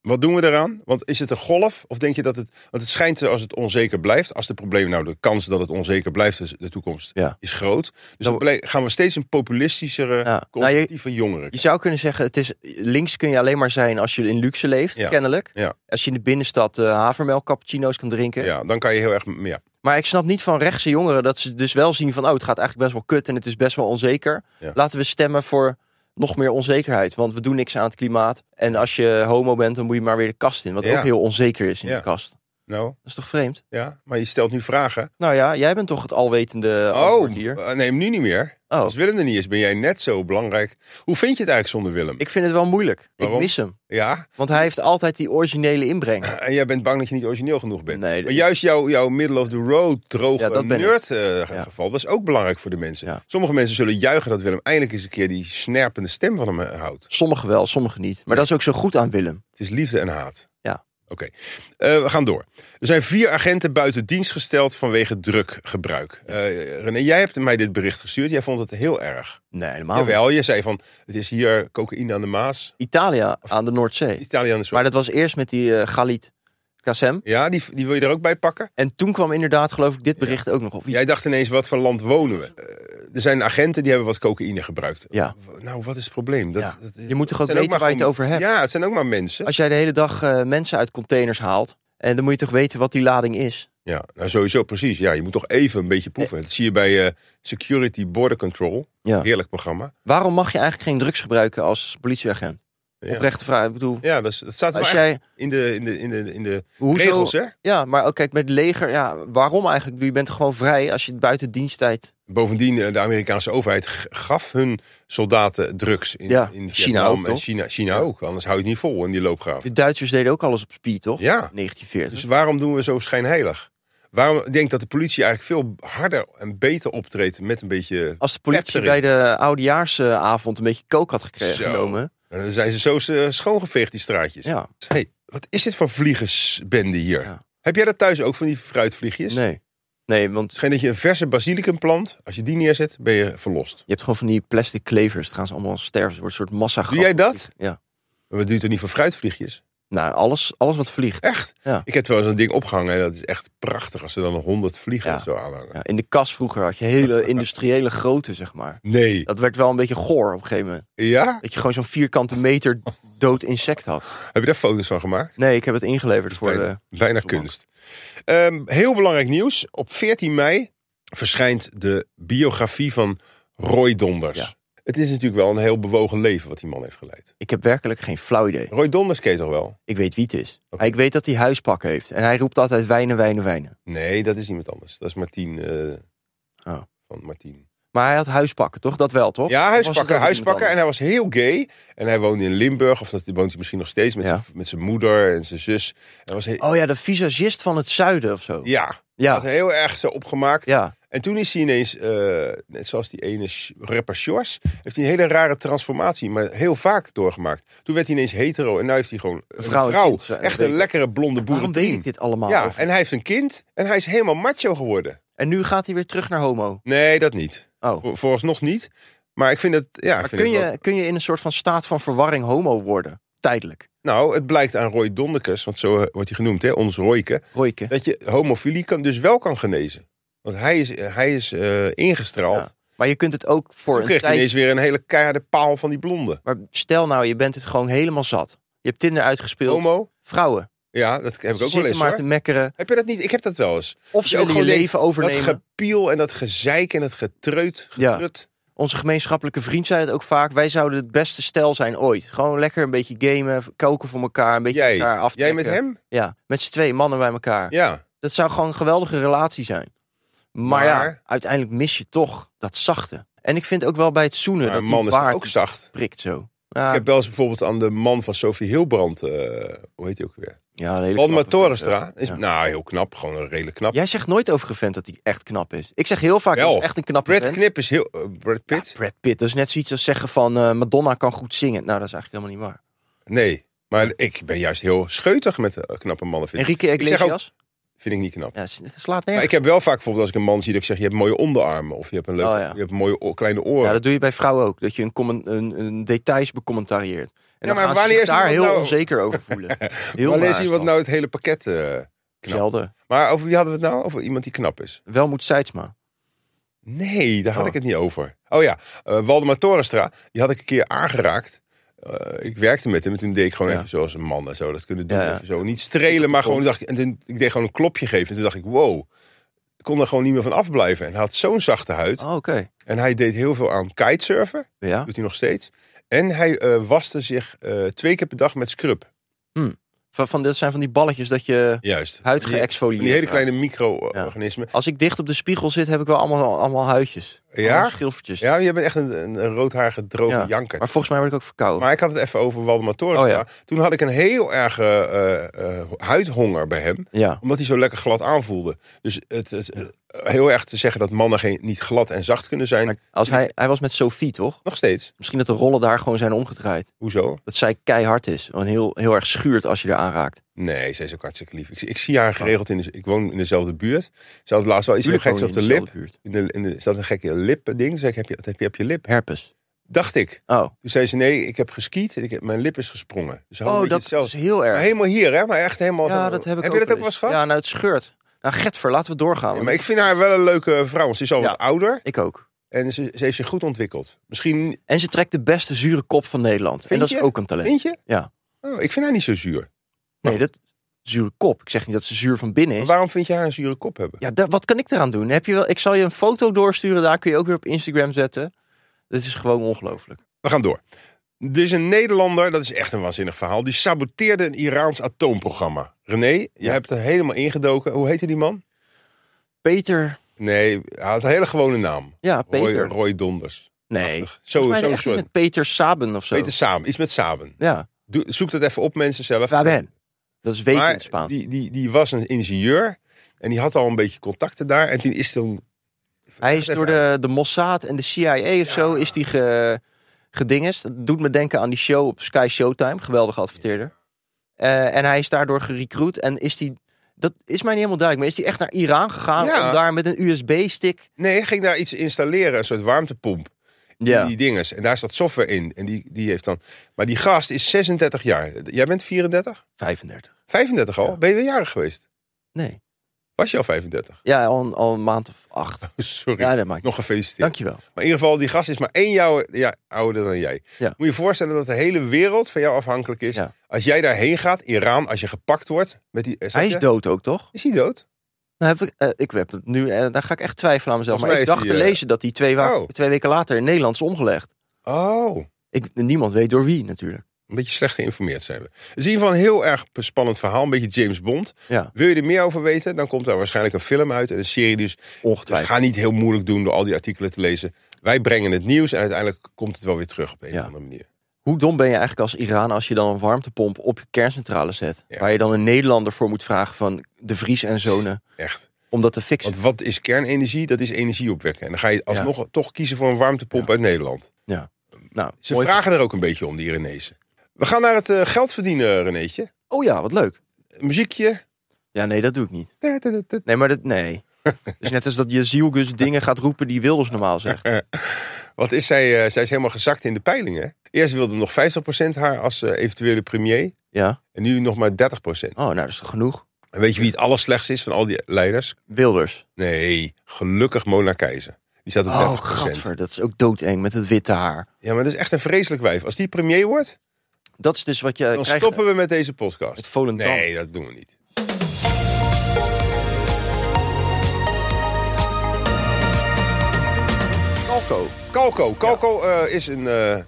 S2: Wat doen we daaraan? Want is het een golf? Of denk je dat het. Want het schijnt eh, als het onzeker blijft. Als de probleem. Nou, de kans dat het onzeker blijft. Dus de toekomst.
S3: Ja.
S2: Is groot. Dus
S3: Dan-
S2: dan blij- gaan we steeds een populistischere.
S3: Ja. Nou, je,
S2: conservatieve jongeren.
S3: je zou kunnen zeggen, het is, links kun je alleen maar zijn als je in luxe leeft,
S2: Ja.
S3: kennelijk.
S2: Ja.
S3: Als je in de binnenstad eh, havermelk cappuccino's kan drinken.
S2: Ja, dan kan je heel erg. Ja.
S3: Maar ik snap niet van rechtse jongeren dat ze dus wel zien van... oh, het gaat eigenlijk best wel kut en het is best wel onzeker.
S2: Ja.
S3: Laten we stemmen voor nog meer onzekerheid. Want we doen niks aan het klimaat. En als je homo bent, dan moet je maar weer de kast in. Wat
S2: Ja.
S3: ook heel onzeker is in
S2: Ja.
S3: de kast. Dat
S2: Nou,
S3: is toch vreemd?
S2: ja. Maar je stelt nu vragen.
S3: Nou ja, jij bent toch het alwetende
S2: oh,
S3: antwoord hier.
S2: eh, nee, nu niet meer.
S3: Oh,
S2: Als Willem er niet is, ben jij net zo belangrijk. Hoe vind je het eigenlijk zonder Willem?
S3: ik vind het wel moeilijk.
S2: Waarom?
S3: Ik mis hem.
S2: Ja.
S3: Want hij heeft altijd die originele inbreng.
S2: En jij bent bang dat je niet origineel genoeg bent.
S3: Nee,
S2: maar
S3: ik-
S2: juist jouw, jouw middle of the road droge
S3: Ja, dat ben ik.
S2: nerd eh,
S3: Ja.
S2: geval, dat is ook belangrijk voor de mensen.
S3: Ja.
S2: Sommige mensen zullen juichen dat Willem eindelijk eens een keer die snerpende stem van hem eh, houdt.
S3: Sommigen wel, sommigen niet. Maar dat is ook zo goed aan Willem.
S2: Het is liefde en haat.
S3: Ja.
S2: Oké, Eh, we gaan door. Er zijn vier agenten buiten dienst gesteld vanwege drukgebruik. Eh René, jij hebt mij dit bericht gestuurd. Jij vond het heel erg.
S3: Nee, helemaal niet.
S2: Jawel, je zei van, het is hier cocaïne aan de Maas.
S3: Italië aan de Noordzee.
S2: Italianen zo.
S3: Maar dat was eerst met die eh Galit Kassem.
S2: Ja, die, die wil je er ook bij pakken?
S3: En toen kwam inderdaad, geloof ik, dit bericht ook nog op.
S2: Jij dacht ineens, wat voor land wonen we? Eh, er zijn agenten die hebben wat cocaïne gebruikt.
S3: Ja.
S2: W- Nou, wat is het probleem? Dat,
S3: Ja.
S2: dat-
S3: Je moet toch ook
S2: het zijn
S3: weten
S2: maar
S3: waar je het
S2: gewoon-
S3: over hebt?
S2: Ja, het zijn ook maar mensen.
S3: Als jij de hele dag eh, mensen uit containers haalt... en dan moet je toch weten wat die lading is.
S2: Ja, nou sowieso, precies. Ja, je moet toch even een beetje proeven. Dat zie je bij eh, Security Border Control.
S3: Ja.
S2: Heerlijk programma.
S3: Waarom mag je eigenlijk geen drugs gebruiken als politieagent?
S2: Ja,
S3: Oprechte vraag. Ik bedoel,
S2: ja dat, is- dat staat wel
S3: als
S2: echt
S3: jij...
S2: in de, in de, in de, in de
S3: Hoezo,
S2: regels, hè?
S3: Ja, maar ook kijk, met het leger... Ja, waarom eigenlijk? Ik bedoel, Je bent gewoon vrij als je het buiten diensttijd...
S2: Bovendien, eh, de Amerikaanse overheid g- gaf hun soldaten drugs in,
S3: Ja,
S2: in
S3: China
S2: Vietnam
S3: ook,
S2: en
S3: toch?
S2: China, China
S3: Ja.
S2: ook. Anders hou je het niet vol in die loopgraaf.
S3: De Duitsers deden ook alles op speed, toch?
S2: Ja.
S3: 1940.
S2: Dus waarom doen we zo schijnheilig? Waarom ik denk dat de politie eigenlijk veel harder en beter optreedt met een beetje.
S3: Als de
S2: Pep
S3: politie
S2: erin.
S3: bij de oudejaarsavond een beetje kook had gekregen,
S2: Zo.
S3: genomen...
S2: En Dan zijn ze zo eh, schoongeveegd, die straatjes.
S3: Ja,
S2: hey, wat is dit voor vliegensbende hier?
S3: Ja.
S2: Heb jij dat thuis ook van die fruitvliegjes? Het
S3: nee. Nee, want
S2: schijnt dat je een verse basilicumplant, als je die neerzet, ben je verlost.
S3: Je hebt gewoon van die plastic klevers. Het gaan ze allemaal sterven. Het wordt een soort massa
S2: Doe jij dat?
S3: Ja.
S2: Maar dat duurt toch niet voor fruitvliegjes?
S3: Nou, alles, alles wat vliegt.
S2: Echt?
S3: Ja.
S2: Ik heb wel eens een ding opgehangen en dat is echt prachtig als ze dan honderd vliegen
S3: Ja.
S2: of zo aanhangen.
S3: Ja, in de kas vroeger had je hele industriële grootte, zeg maar.
S2: Nee.
S3: Dat werd wel een beetje goor op een gegeven moment.
S2: Ja?
S3: Dat je gewoon zo'n vierkante meter dood insect had.
S2: Heb je daar foto's van gemaakt?
S3: Nee, ik heb het ingeleverd voor de...
S2: Bijna
S3: Zo lang.
S2: kunst. Ehm, heel belangrijk nieuws. Op 14 mei verschijnt de biografie van Roy Donders.
S3: Ja.
S2: Het is natuurlijk wel een heel bewogen leven wat die man heeft geleid.
S3: Ik heb werkelijk geen flauw idee.
S2: Roy Donders ken je toch wel?
S3: Ik weet wie het is.
S2: Oké.
S3: Hij- Ik weet dat hij huispak heeft. En hij roept altijd wijnen, wijnen, wijnen.
S2: Nee, dat is iemand anders. Dat is Martien. eh,
S3: Oh.
S2: Van Martien.
S3: Maar hij had huispakken, toch? Dat wel, toch?
S2: Ja,
S3: Of was het ook
S2: huispakken,
S3: iemand
S2: huispakken. En
S3: anders?
S2: hij was heel gay. En hij woonde in Limburg, of dat woont hij misschien nog steeds met,
S3: Ja.
S2: zijn, met zijn moeder en zijn zus. Hij was heel,
S3: Oh ja, de visagist van het zuiden of zo.
S2: Ja,
S3: Ja,
S2: was heel erg zo opgemaakt.
S3: ja.
S2: En toen is hij ineens, eh, net zoals die ene Sh- rapper Shores, heeft hij een hele rare transformatie, maar heel vaak doorgemaakt. Toen werd hij ineens hetero en nu heeft hij gewoon een
S3: vrouw
S2: vrouw.
S3: en kind, eh,
S2: echt
S3: weet
S2: een
S3: ik.
S2: lekkere blonde
S3: Waarom
S2: boerenteen.
S3: deed ik dit allemaal?
S2: Ja,
S3: Of- en...
S2: en hij heeft een kind en hij is helemaal macho geworden.
S3: nu gaat hij weer terug naar homo.
S2: Nee, dat niet.
S3: Oh.
S2: Vol- Volgens nog niet. Maar ik vind het, ja, ik
S3: Maar
S2: vind
S3: kun
S2: het wel-
S3: je, kun je in een soort van staat van verwarring homo worden? Tijdelijk.
S2: Nou, het blijkt aan Roy Dondekes, want zo eh, wordt hij genoemd, hè, ons Royke,
S3: Royke.
S2: dat je homofilie kan, dus wel kan genezen. Want hij is, hij is eh, ingestraald.
S3: Ja. Maar je kunt het ook voor
S2: Toen
S3: een
S2: kreeg hij
S3: tijd...
S2: ineens weer een hele keiharde paal van die blonde.
S3: Maar stel nou, je bent het gewoon helemaal zat. Je hebt Tinder uitgespeeld.
S2: Homo?
S3: Vrouwen.
S2: Ja, dat heb ik ook wel
S3: zitten
S2: eens
S3: maar
S2: hoor.
S3: te mekkeren.
S2: Heb je dat niet? Ik heb dat wel eens.
S3: Of ze
S2: ook
S3: willen je
S2: gewoon denkt,
S3: leven overnemen.
S2: Dat gepiel en dat gezeik en dat getreut.
S3: Ja.
S2: Getrut.
S3: Onze gemeenschappelijke vriend zei het ook vaak. Wij zouden het beste stel zijn ooit. Gewoon lekker een beetje gamen, koken voor elkaar. Een beetje
S2: Jij,
S3: elkaar
S2: jij
S3: aftrekken.
S2: met hem?
S3: Ja, met z'n twee mannen bij elkaar.
S2: Ja.
S3: Dat zou gewoon een geweldige relatie zijn. Maar, ja,
S2: Maar-
S3: uiteindelijk mis je toch dat zachte. En ik vind ook wel bij het zoenen
S2: Maar
S3: dat
S2: een
S3: die
S2: man is toch
S3: baard
S2: ook zacht.
S3: prikt zo. Ja,
S2: Ik heb wel eens bijvoorbeeld aan de man van Sophie Hilbrand, eh, hoe heet hij ook weer?
S3: ja, een hele
S2: Alma
S3: knappe
S2: Torenstra.
S3: vent, ja.
S2: Is,
S3: Ja.
S2: Nou, heel knap. Gewoon een redelijk knap.
S3: Jij zegt nooit over een vent dat hij echt knap is. Ik zeg heel vaak
S2: Wel.
S3: dat is echt een knappe
S2: Brad
S3: vent.
S2: Knip is heel... eh, Brad Pitt?
S3: Ja, Brad Pitt. Dat is net zoiets als zeggen van eh, Madonna kan goed zingen. Nou, dat is eigenlijk helemaal niet waar.
S2: Nee. Maar ik ben juist heel scheutig met eh, knappe mannen. Vind, ik-
S3: Enrique
S2: zeg ook-
S3: Iglesias?
S2: vind ik niet knap.
S3: Ja, het slaat
S2: Maar
S3: nergens.
S2: ik heb wel vaak bijvoorbeeld als ik een man zie dat ik zeg... je hebt mooie onderarmen of je hebt, een leuk,
S3: Oh, ja.
S2: je hebt mooie o- kleine oren.
S3: Ja, dat doe je bij vrouwen ook. Dat je een, comment, een, een details becommentarieert. En dan
S2: maar
S3: gaan ze
S2: wanneer
S3: zich
S2: is
S3: daar
S2: iemand
S3: heel
S2: nou-
S3: onzeker over voelen. Heel
S2: maar lees
S3: naar is
S2: iemand
S3: dat.
S2: nou het hele pakket eh, knap?
S3: Zelden.
S2: Maar over wie hadden we het nou? Over iemand die knap is?
S3: Welmoed Seidsma.
S2: Nee, daar had
S3: Oh.
S2: ik het niet over. Oh ja, eh, Waldemar Torenstra, die had ik een keer aangeraakt. Eh, ik werkte met hem en toen deed ik gewoon
S3: Ja.
S2: even zoals een man en zo. Dat kunnen doen,
S3: Ja, ja.
S2: even zo. Niet strelen, maar gewoon dacht ik... En toen, ik deed gewoon een klopje geven en toen dacht ik, wow... Ik kon er gewoon niet meer van afblijven. En hij had zo'n zachte huid.
S3: Oh, oké.
S2: En hij deed heel veel aan kitesurfen.
S3: Ja.
S2: Doet hij nog steeds. En hij eh, waste zich eh, twee keer per dag met scrub.
S3: Van, van, dat zijn van die balletjes dat je
S2: Juist.
S3: huid
S2: Van die-
S3: geëxfolieert.
S2: van Die hele
S3: raakt.
S2: kleine micro-organismen.
S3: Als ik dicht op de spiegel zit, heb ik wel allemaal, allemaal huidjes.
S2: Ja?
S3: Allemaal schilfertjes.
S2: Ja, je bent echt een, een, een roodhaarige, droge
S3: Ja.
S2: janker.
S3: Maar volgens mij word ik ook verkouden.
S2: Maar ik had het even over Waldemar Torenstra.
S3: Oh ja.
S2: Toen had ik een heel erg eh, eh, huidhonger bij hem.
S3: Ja.
S2: Omdat hij zo lekker glad aanvoelde. Dus het, het, eh, heel erg te zeggen dat mannen geen, niet glad en zacht kunnen zijn.
S3: Maar als hij, hij was met Sophie, toch?
S2: Nog steeds.
S3: Misschien dat de rollen daar gewoon zijn omgedraaid.
S2: Hoezo?
S3: Dat zij keihard is. En heel, heel erg schuurt als je er aanraakt.
S2: Nee, zij is ook hartstikke lief. Ik, zie- ik zie
S3: Oh.
S2: haar geregeld in de... Ik woon in dezelfde buurt. Ze had laatst wel iets heel
S3: Tuurlijk
S2: geks
S3: woon
S2: op
S3: je
S2: de
S3: in
S2: lip.
S3: dezelfde buurt.
S2: In de, in de, ze had een gekke lippending. Toen zei ik, heb je, wat heb je op je lip?
S3: Herpes.
S2: Dacht ik.
S3: Oh,
S2: Toen zei ze, nee, ik heb geskiet. en Ik heb, mijn lip is gesprongen. Dus
S3: oh dat
S2: zelfs.
S3: is heel erg.
S2: helemaal hier, hè? Maar echt helemaal...
S3: Ja,
S2: zo-
S3: dat heb ik
S2: heb
S3: ook
S2: je dat ook wel
S3: wel
S2: eens gehad?
S3: Ja, nou, het scheurt. Nou, Getver, laten we doorgaan.
S2: Ja, maar ik vind haar wel een leuke vrouw. want ze is al
S3: Ja.
S2: wat ouder
S3: Ik ook.
S2: en ze, ze heeft zich goed ontwikkeld. Misschien,
S3: En ze trekt de beste zure kop van Nederland. en
S2: Vind
S3: dat
S2: je?
S3: is ook een talent.
S2: vind je?
S3: Ja.
S2: Oh, ik vind haar niet zo zuur.
S3: Nee, dat zure kop. Ik zeg niet dat ze zuur van binnen
S2: Maar
S3: is.
S2: waarom vind je haar een zure kop hebben?
S3: Ja, daar- wat kan ik eraan doen? Heb je wel, ik zal je een foto doorsturen, daar kun je ook weer op Instagram zetten. Dit is gewoon ongelooflijk.
S2: We gaan door. Er is een Nederlander, dat is echt een waanzinnig verhaal, die saboteerde een Iraans atoomprogramma. René, je hebt er helemaal ingedoken. Hoe heette die man?
S3: Peter.
S2: Nee, hij had een hele gewone naam.
S3: Ja, Peter.
S2: Roy, Roy Donders.
S3: nee. Volgens
S2: Zo,
S3: mij
S2: zo
S3: echt
S2: soort.
S3: met Peter Saben of zo.
S2: Peter Samen, iets met Samen.
S3: Ja.
S2: Doe- zoek dat even op mensen zelf.
S3: Faben. Dat is weten in
S2: Maar
S3: het Spaans.
S2: Die, die, die was een ingenieur en die had al een beetje contacten daar. En toen is toen...
S3: Hij is
S2: Even
S3: door de, de Mossad en de CIA of zo is die ge, gedingest. Dat doet me denken aan die show op Sky Showtime. Geweldige adverteerder. Eh, en hij is daardoor gerecruit. En is die, dat is mij niet helemaal duidelijk, maar is die echt naar Iran gegaan
S2: Ja.
S3: om daar met een USB-stick...
S2: Nee, hij ging daar iets installeren, een soort warmtepomp. in
S3: Ja.
S2: Die dinges. En daar staat software in. En die, die heeft dan... Maar die gast is 36 jaar. Jij bent 34?
S3: 35.
S2: 35 al?
S3: Ja.
S2: Ben je weer jarig geweest?
S3: Nee.
S2: Was je al 35?
S3: Ja, al, een- al een maand of acht.
S2: Sorry.
S3: Ja, dat maakt niet.
S2: Nog gefeliciteerd.
S3: Dankjewel.
S2: Maar in ieder geval, die gast is maar één jaar ja, ouder dan jij.
S3: Ja.
S2: Moet je je voorstellen dat de hele wereld van jou afhankelijk is.
S3: Ja.
S2: Als jij daarheen gaat, Iran, als je gepakt wordt... Met die,
S3: Hij is dood ook, toch?
S2: Is hij dood?
S3: Nou, heb ik, eh, ik heb het nu, en daar ga ik echt twijfelen aan mezelf.
S2: Volgens
S3: maar
S2: mij is
S3: ik dacht
S2: die,
S3: te
S2: eh,
S3: lezen dat hij twee, wa-
S2: Oh.
S3: twee weken later in Nederland is omgelegd.
S2: Oh.
S3: Ik, niemand weet door wie natuurlijk.
S2: een beetje slecht geïnformeerd zijn we. Het is in ieder geval een heel erg spannend verhaal. Een beetje James Bond.
S3: Ja.
S2: Wil je er meer over weten? Dan komt daar waarschijnlijk een film uit. En een serie dus.
S3: Ongetwijfeld.
S2: Ga niet heel moeilijk doen door al die artikelen te lezen. Wij brengen het nieuws en uiteindelijk komt het wel weer terug op een
S3: Ja.
S2: of andere manier.
S3: Hoe dom ben je eigenlijk als Iran als je dan een warmtepomp op je kerncentrale zet?
S2: Ja.
S3: Waar je dan een Nederlander voor moet vragen van de Vries en zonen
S2: Echt.
S3: om dat te fixen.
S2: Want wat is kernenergie? Dat is energie opwekken. En dan ga je alsnog toch kiezen voor een warmtepomp
S3: Ja.
S2: uit Nederland.
S3: nou,
S2: Ze
S3: mooi.
S2: vragen er ook een beetje om, die Renézen. We gaan naar het eh, geld verdienen, Renéetje.
S3: Oh ja, wat leuk.
S2: Muziekje.
S3: Ja, nee, dat doe ik niet.
S2: Da, da, da, da.
S3: Nee, maar dat, nee. Het is net als dat je zielgus dingen gaat roepen die Wilders normaal zegt.
S2: Wat is zij? eh, zij is helemaal gezakt in de peilingen. Eerst wilde nog 50% haar als eh, eventuele premier.
S3: Ja.
S2: En nu nog maar 30%.
S3: Oh, nou, dat is toch genoeg?
S2: En weet je wie het allerslechtst is van al die leiders?
S3: Wilders.
S2: Nee, gelukkig Mona Keizer. Die staat op
S3: Oh,
S2: 30%.
S3: gadver, dat is ook doodeng met het witte haar.
S2: Ja, maar dat is echt een vreselijk wijf. Als die premier wordt,
S3: Dat is dus wat je
S2: dan
S3: krijgt
S2: stoppen we met deze podcast.
S3: met Volendam.
S2: Nee, dat doen we niet.
S3: Calco.
S2: Calco. Calco eh, is een... eh,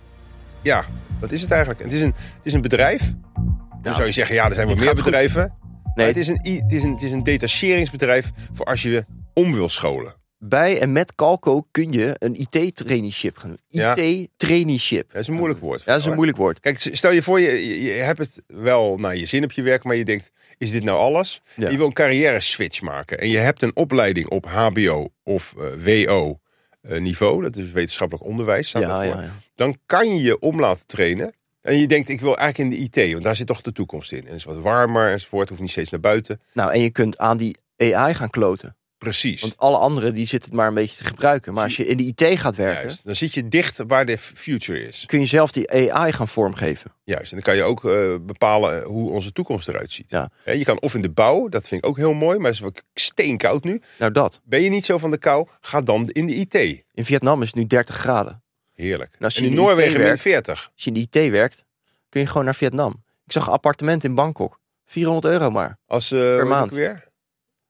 S2: ja, wat is het eigenlijk? Het is een, het is een bedrijf. Dan
S3: Nou,
S2: zou je zeggen, ja, er zijn wel
S3: dit
S2: meer
S3: gaat goed.
S2: bedrijven.
S3: Nee,
S2: Maar het is, een, i- het, is een, het is een detacheringsbedrijf voor als je om wil scholen.
S3: bij en met Calco kun je een IT-traineeship gaan doen.
S2: Ja.
S3: IT-traineeship.
S2: Dat is een moeilijk woord.
S3: Ja, dat is een moeilijk woord.
S2: Kijk, stel je voor, je, je- je hebt het wel naar je zin op je werk, maar je denkt, is dit nou alles?
S3: Ja.
S2: Je wil een carrière switch maken en je hebt een opleiding op HBO of eh, WO eh, niveau, dat is wetenschappelijk onderwijs, staat dat
S3: Ja,
S2: voor.
S3: ja, ja.
S2: Dan kan je je om laten trainen en je denkt, ik wil eigenlijk in de IT, want daar zit toch de toekomst in. En het is wat warmer enzovoort, hoeft niet steeds naar buiten.
S3: Nou, en je kunt aan die AI gaan kloten.
S2: Precies.
S3: Want alle anderen die zitten het maar een beetje te gebruiken. Maar als je in de IT gaat werken,
S2: Juist. Dan zit je dicht waar de f- future is.
S3: kun je zelf die AI gaan vormgeven.
S2: Juist. En dan kan je ook eh, bepalen hoe onze toekomst eruit ziet.
S3: Ja.
S2: Hè, Je kan of in de bouw, dat vind ik ook heel mooi, maar dat is wel steenkoud nu.
S3: Nou, dat.
S2: Ben je niet zo van de kou? Ga dan in de IT.
S3: In Vietnam is het nu 30 graden.
S2: Heerlijk.
S3: Nou, als je
S2: en in
S3: in de IT
S2: Noorwegen ben je
S3: werkt-
S2: 40.
S3: Als je in de IT werkt, kun je gewoon naar Vietnam. Ik zag een appartement in Bangkok. 400 euro maar.
S2: Als, eh, hoe heet
S3: maand.
S2: ook Weer?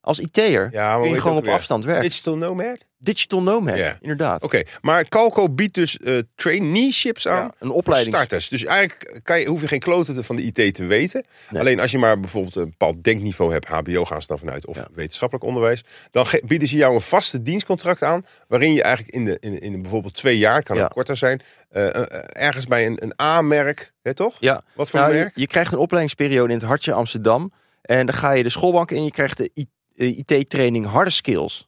S3: Als IT'er
S2: Ja, maar hoe
S3: kun
S2: heet
S3: je
S2: het
S3: gewoon
S2: ook
S3: op
S2: weer?
S3: afstand werken.
S2: Digital nomad?
S3: Digital nomad,
S2: Ja.
S3: inderdaad.
S2: Oké, maar Calco biedt dus eh, traineeships aan.
S3: Ja, een
S2: voor
S3: opleiding.
S2: Starters. Dus eigenlijk kan je, hoef je geen kloten te- van de IT te weten.
S3: Nee.
S2: Alleen als je maar bijvoorbeeld een bepaald denkniveau hebt, HBO gaan ze dan vanuit, of
S3: Ja.
S2: wetenschappelijk onderwijs, dan ge- bieden ze jou een vaste dienstcontract aan, waarin je eigenlijk in, de, in, in bijvoorbeeld twee jaar, kan
S3: Ja.
S2: het korter zijn, eh, eh, eh, ergens bij een, een A-merk, hè, toch?
S3: Ja.
S2: Wat voor
S3: Nou, je,
S2: merk?
S3: je krijgt een opleidingsperiode in het hartje Amsterdam. En dan ga je de schoolbank in. Je krijgt de I- eh, IT-training harde skills.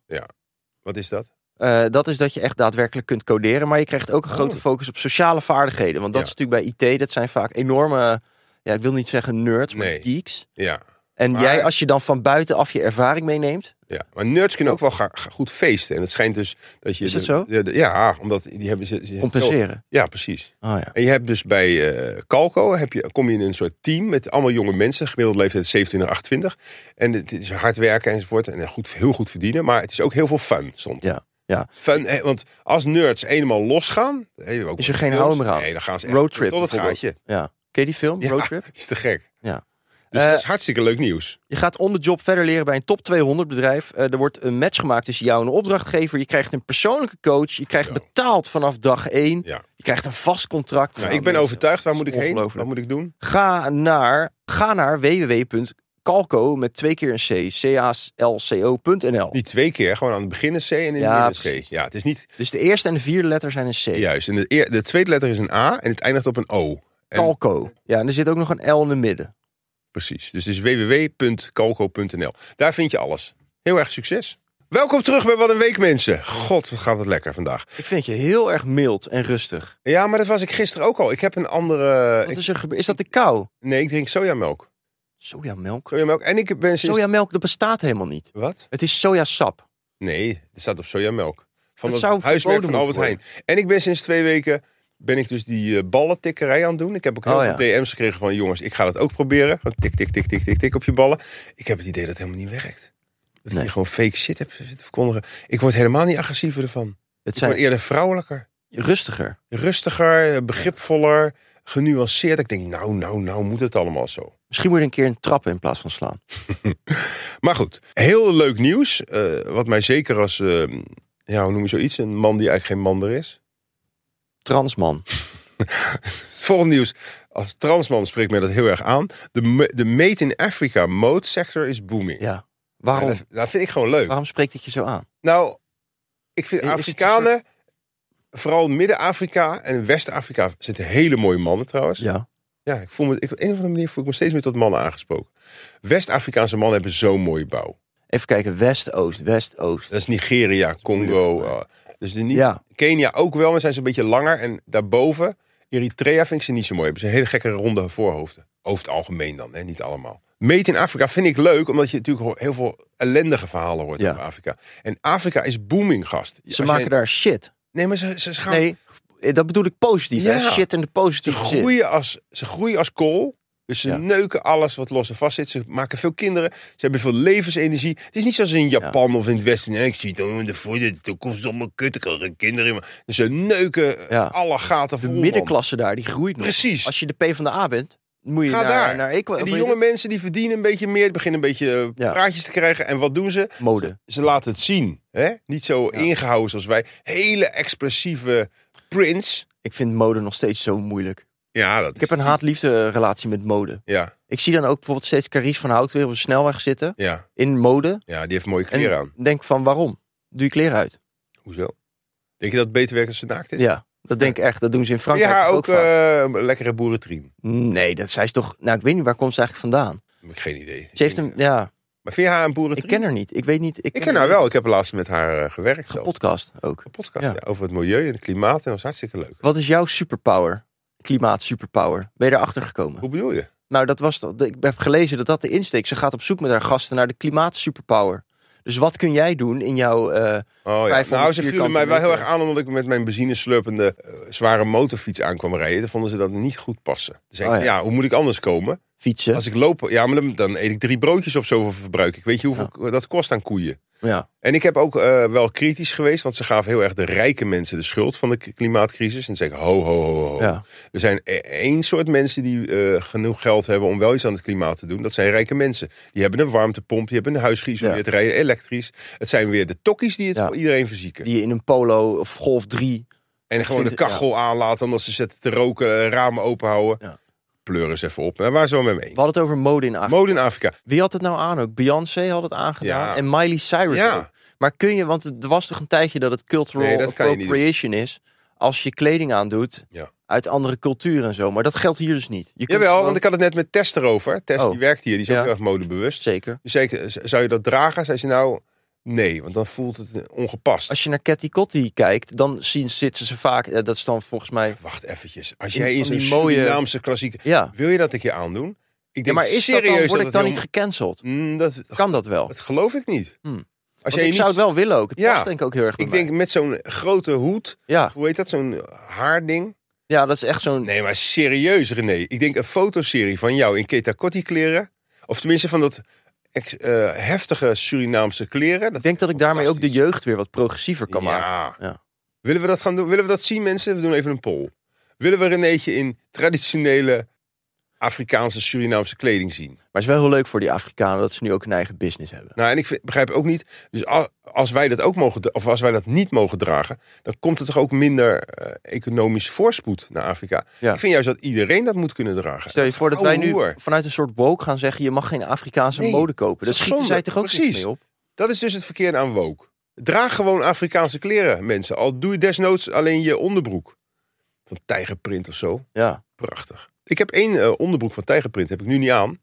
S2: Wat is dat?
S3: Eh, dat is dat je echt daadwerkelijk kunt coderen. Maar je krijgt ook een
S2: Oh.
S3: grote focus op sociale vaardigheden. Want dat
S2: Ja.
S3: is natuurlijk bij IT, dat zijn vaak enorme... Ja, ik wil niet zeggen nerds, maar
S2: Nee.
S3: geeks.
S2: Ja.
S3: En
S2: Maar-
S3: jij, als je dan van buitenaf je ervaring meeneemt...
S2: Ja, maar nerds kunnen ook wel ga- ga- goed feesten. En het schijnt dus dat je...
S3: Is dat
S2: de-
S3: zo?
S2: de- de- ja, omdat die hebben ze... ze-
S3: compenseren.
S2: Ja, precies.
S3: Oh ja.
S2: En je hebt dus bij eh, Calco, heb je, kom je in een soort team met allemaal jonge mensen, gemiddelde leeftijd 27, 28. En het is hard werken enzovoort en goed, heel goed verdienen, maar het is ook heel veel fun soms.
S3: Ja, ja.
S2: Fun, eh, want als nerds eenmaal losgaan... eh, ook
S3: Is
S2: met
S3: er geen
S2: films,
S3: houden meer aan.
S2: Nee, dan gaan ze echt
S3: Roadtrip
S2: tot het
S3: bijvoorbeeld.
S2: gaatje.
S3: Ja. Ken je die film,
S2: Ja,
S3: Roadtrip?
S2: is te gek.
S3: Ja.
S2: Dus
S3: Eh,
S2: dat is hartstikke leuk nieuws.
S3: Je gaat on the job verder leren bij een top 200 bedrijf. Eh, er wordt een match gemaakt tussen jou en een opdrachtgever. Je krijgt een persoonlijke coach. Je krijgt
S2: Zo.
S3: betaald vanaf dag 1.
S2: Ja.
S3: Je krijgt een vast contract.
S2: Nou, ik ben overtuigd, waar moet ik heen?
S3: ongelooflijk.
S2: Wat moet ik doen?
S3: Ga naar, ga naar www.calco met twee keer een C. C-A-L-C-O.nl.
S2: Niet twee keer, gewoon aan het begin een C en in het
S3: Ja,
S2: midden een C.
S3: precies.
S2: Ja, het is niet
S3: Dus de eerste en de vierde letter zijn een C.
S2: juist. En de, eer- de tweede letter is een A en het eindigt op een O. En-
S3: Calco. Ja, en er zit ook nog een L in het midden.
S2: Precies. Dus het is www.calco.nl. Daar vind je alles. Heel erg succes. Welkom terug bij Wat een Week, mensen. God, wat gaat het lekker vandaag.
S3: Ik vind je heel erg mild en rustig.
S2: Ja, maar dat was ik gisteren ook al. Ik heb een andere...
S3: Wat
S2: ik-
S3: is er gebeurd? Is dat de kou?
S2: nee, ik drink sojamelk.
S3: Sojamelk?
S2: Sojamelk. En ik ben sinds...
S3: Sojamelk, dat bestaat helemaal niet.
S2: Wat?
S3: Het is sojasap.
S2: Nee, het staat op sojamelk. Van
S3: Dat
S2: het
S3: zou
S2: huismerk van
S3: verboden
S2: Albert
S3: moeten
S2: Heijn. En ik ben sinds twee weken ben ik dus die eh, ballentikkerij aan het doen. Ik heb ook heel
S3: Oh,
S2: veel DM's gekregen van jongens, ik ga dat ook proberen. Gewoon tik, tik, tik, tik, tik, tik op je ballen. Ik heb het idee dat het helemaal niet werkt. Dat
S3: Nee.
S2: je gewoon fake shit hebt zitten verkondigen. Ik word helemaal niet agressiever ervan.
S3: Het
S2: Ik word
S3: zijn
S2: eerder vrouwelijker,
S3: rustiger.
S2: rustiger, eh, begripvoller, genuanceerd. Ik denk, nou, nou, nou moet het allemaal zo.
S3: Misschien moet je een keer een trap in plaats van slaan.
S2: Maar goed, heel leuk nieuws. eh, wat mij zeker als, eh, ja, hoe noem je zoiets? Een man die eigenlijk geen man er is.
S3: Transman.
S2: Volgend nieuws. Als transman spreekt mij dat heel erg aan. De, me- de Made in Africa mode sector is booming.
S3: Ja.
S2: En
S3: Waarom,
S2: dat, dat vind ik gewoon leuk.
S3: waarom spreekt het je zo aan?
S2: Nou, ik vind
S3: Is- is het een
S2: Afrikanen, vooral Midden-Afrika en West-Afrika, zitten hele mooie mannen trouwens. Ja,
S3: Ja.
S2: ik voel me, ik, op een of andere manier voel ik me steeds meer tot mannen aangesproken. West-Afrikaanse mannen hebben zo'n mooie bouw.
S3: Even kijken, West-Oost, West-Oost.
S2: Dat is Nigeria, Congo.
S3: moeilijk,
S2: eh, dus de, Eh, niet,
S3: Ja,
S2: Kenia ook wel, maar zijn ze een beetje langer. En daarboven, Eritrea vind ik ze niet zo mooi. Hebben ze hele gekke ronde voorhoofden. Over het algemeen dan, hè? niet allemaal. Meet in Afrika vind ik leuk, omdat je natuurlijk ho- heel veel ellendige verhalen hoort
S3: Ja.
S2: over Afrika. En Afrika is booming, gast.
S3: ze
S2: Als jij-
S3: maken daar shit.
S2: Nee, maar ze, ze, ze gaan...
S3: Nee, eh, dat bedoel ik positief. hè.
S2: Ja.
S3: Shit in de
S2: Ze
S3: positieve zin.
S2: groeien, als, ze groeien als kool. Dus ze
S3: Ja.
S2: neuken alles wat los en vast zit. Ze maken veel kinderen. Ze hebben veel levensenergie. Het is niet zoals in Japan of in het Westen. Nee, ik zie dan in de voor de toekomst allemaal kut. Ik kan geen kinderen. Maar ze neuken
S3: Ja.
S2: alle gaten
S3: De
S2: vol. man.
S3: middenklasse daar, die groeit nog.
S2: Precies.
S3: Als je de P van de A bent, moet je
S2: Ga
S3: naar,
S2: daar.
S3: naar Equa-
S2: En
S3: of
S2: die
S3: weet
S2: jonge
S3: ik-
S2: mensen die verdienen een beetje meer. Beginnen een beetje eh,
S3: Ja.
S2: praatjes te krijgen. En wat doen ze?
S3: mode.
S2: Ze laten het zien. Hè? Niet zo
S3: Ja.
S2: ingehouden zoals wij. Hele expressieve prins.
S3: Ik vind mode nog steeds zo moeilijk.
S2: Ja, dat
S3: Ik heb een haat-liefde relatie met mode.
S2: Ja,
S3: Ik zie dan ook bijvoorbeeld steeds Caries van Hout weer op de snelweg zitten.
S2: ja,
S3: In mode.
S2: ja, die heeft mooie kleren aan.
S3: En denk van waarom? Doe je kleren uit.
S2: Hoezo? Denk je dat het beter werkt als ze naakt is?
S3: Ja, dat denk ik echt. Dat doen ze in
S2: Heb je
S3: Frankrijk
S2: haar
S3: toch
S2: ook
S3: vaak.
S2: eh, een lekkere boerentrien?
S3: Nee, dat zij is toch... Nou, ik weet niet waar komt ze eigenlijk vandaan.
S2: Heb ik geen idee.
S3: Ze heeft een... Ja,
S2: Maar vind je haar een boerentrien?
S3: ik ken haar niet. Ik weet niet...
S2: Ik ken haar wel. Ik heb laatst met haar eh, gewerkt. zelfs.
S3: Podcast ook.
S2: Een podcast
S3: Ja.
S2: ja, over het milieu en het klimaat. En dat was hartstikke leuk.
S3: Wat is jouw superpower? Klimaat superpower. Ben je erachter gekomen?
S2: Hoe bedoel je?
S3: Nou, dat was dat. Ik heb gelezen dat dat de insteek. Ze gaat op zoek met haar gasten naar de klimaatsuperpower. Dus wat kun jij doen in jouw. eh,
S2: Oh, ja.
S3: 500
S2: Nou, ze vielen
S3: vierkante
S2: mij wel heel
S3: meter.
S2: erg aan omdat ik met mijn benzineslurpende eh, zware motorfiets aankwam rijden. Dan vonden ze dat niet goed passen. Dus ik,
S3: Oh, ja.
S2: ja. hoe moet ik anders komen?
S3: fietsen?
S2: Als ik loop, ja, maar dan, dan eet ik drie broodjes op zoveel verbruik. Ik weet je hoeveel dat kost aan koeien.
S3: Ja.
S2: En ik heb ook eh, wel kritisch geweest, want ze gaven heel erg de rijke mensen de schuld van de k- klimaatcrisis. En zeggen ho, ho, ho, ho.
S3: ja.
S2: Er zijn e- één soort mensen die eh, genoeg geld hebben om wel iets aan het klimaat te doen. Dat zijn rijke mensen. Die hebben een warmtepomp, die hebben een huis geïsoleerd, rijden elektrisch. Het zijn weer de tokkies die het
S3: Ja.
S2: voor iedereen verzieken.
S3: Die je in een polo of golf 3.
S2: en gewoon de
S3: vind ik-
S2: kachel aanlaten omdat ze zitten te roken, eh, ramen openhouden.
S3: Ja.
S2: Pleuren ze even op. Maar waar zo met mee?
S3: We hadden het over mode in Afrika.
S2: Mode in Afrika.
S3: Wie had het nou aan ook? Beyoncé had het aangedaan.
S2: Ja.
S3: En Miley Cyrus.
S2: Ja.
S3: ook. Maar kun je, want er was toch een tijdje dat het cultural
S2: Nee, dat kan je niet doen.
S3: appropriation is. Als je kleding aandoet
S2: Ja.
S3: uit andere culturen en zo. Maar dat geldt hier dus niet. Je kunt
S2: Jawel,
S3: gewoon-
S2: want ik had het net met Tess erover. Tess
S3: Oh.
S2: die werkt hier, die is
S3: Ja.
S2: ook heel erg modebewust.
S3: Zeker.
S2: Dus zei ik, z- zou je dat dragen? Zei ze nou, nee, want dan voelt het eh, ongepast.
S3: Als je naar Cathy Cotty kijkt, dan zien, zitten ze vaak... eh, Dat is dan volgens mij...
S2: Wacht eventjes. Als
S3: In
S2: jij in
S3: van
S2: zo'n
S3: die mooie-
S2: Surinaamse klassieke...
S3: Ja.
S2: Wil je dat ik je aandoen? Ik denk
S3: Ja, maar is dat
S2: serieus
S3: dan, word ik
S2: het
S3: dan
S2: heel-
S3: niet gecanceld?
S2: Mm, dat,
S3: Kan dat wel?
S2: dat geloof ik niet.
S3: Hmm.
S2: Als
S3: Want
S2: jij
S3: ik
S2: niet...
S3: zou het wel willen ook. Het
S2: Ja.
S3: past denk ik ook heel erg bij
S2: Ik
S3: mij.
S2: denk met zo'n grote hoed,
S3: Ja.
S2: hoe heet dat, zo'n haarding?
S3: ja, dat is echt zo'n...
S2: Nee, maar serieus René. Ik denk een fotoserie van jou in Keta Kotti kleren. Of tenminste van dat ex- eh, heftige Surinaamse kleren.
S3: Ik denk dat ik daarmee ook de
S2: fantastisch.
S3: jeugd weer wat progressiever kan maken.
S2: Ja.
S3: Ja.
S2: Willen we dat gaan doen? Willen we dat zien, mensen? We doen even een poll. Willen we Renéetje in traditionele Afrikaanse Surinaamse kleding zien?
S3: Maar het is wel heel leuk voor die Afrikanen dat ze nu ook een eigen business hebben.
S2: Nou, en ik vind- begrijp ook niet. Dus a- als wij dat ook mogen, dra- of als wij dat niet mogen dragen, dan komt er toch ook minder eh, economisch voorspoed naar Afrika.
S3: Ja.
S2: Ik vind juist dat iedereen dat moet kunnen dragen.
S3: Stel je voor dat wij
S2: Oude
S3: nu
S2: hoer.
S3: vanuit een soort woke gaan zeggen... je mag geen Afrikaanse
S2: Oh, Nee,
S3: mode kopen.
S2: dat
S3: Dat
S2: is
S3: schieten
S2: zonde.
S3: zij toch ook niks
S2: Precies.
S3: mee op?
S2: Dat is dus het verkeerde aan woke. Draag gewoon Afrikaanse kleren, mensen. Al doe je desnoods alleen je onderbroek. Van tijgerprint of zo.
S3: Ja.
S2: Prachtig. Ik heb één eh, onderbroek van tijgerprint, heb ik nu niet aan.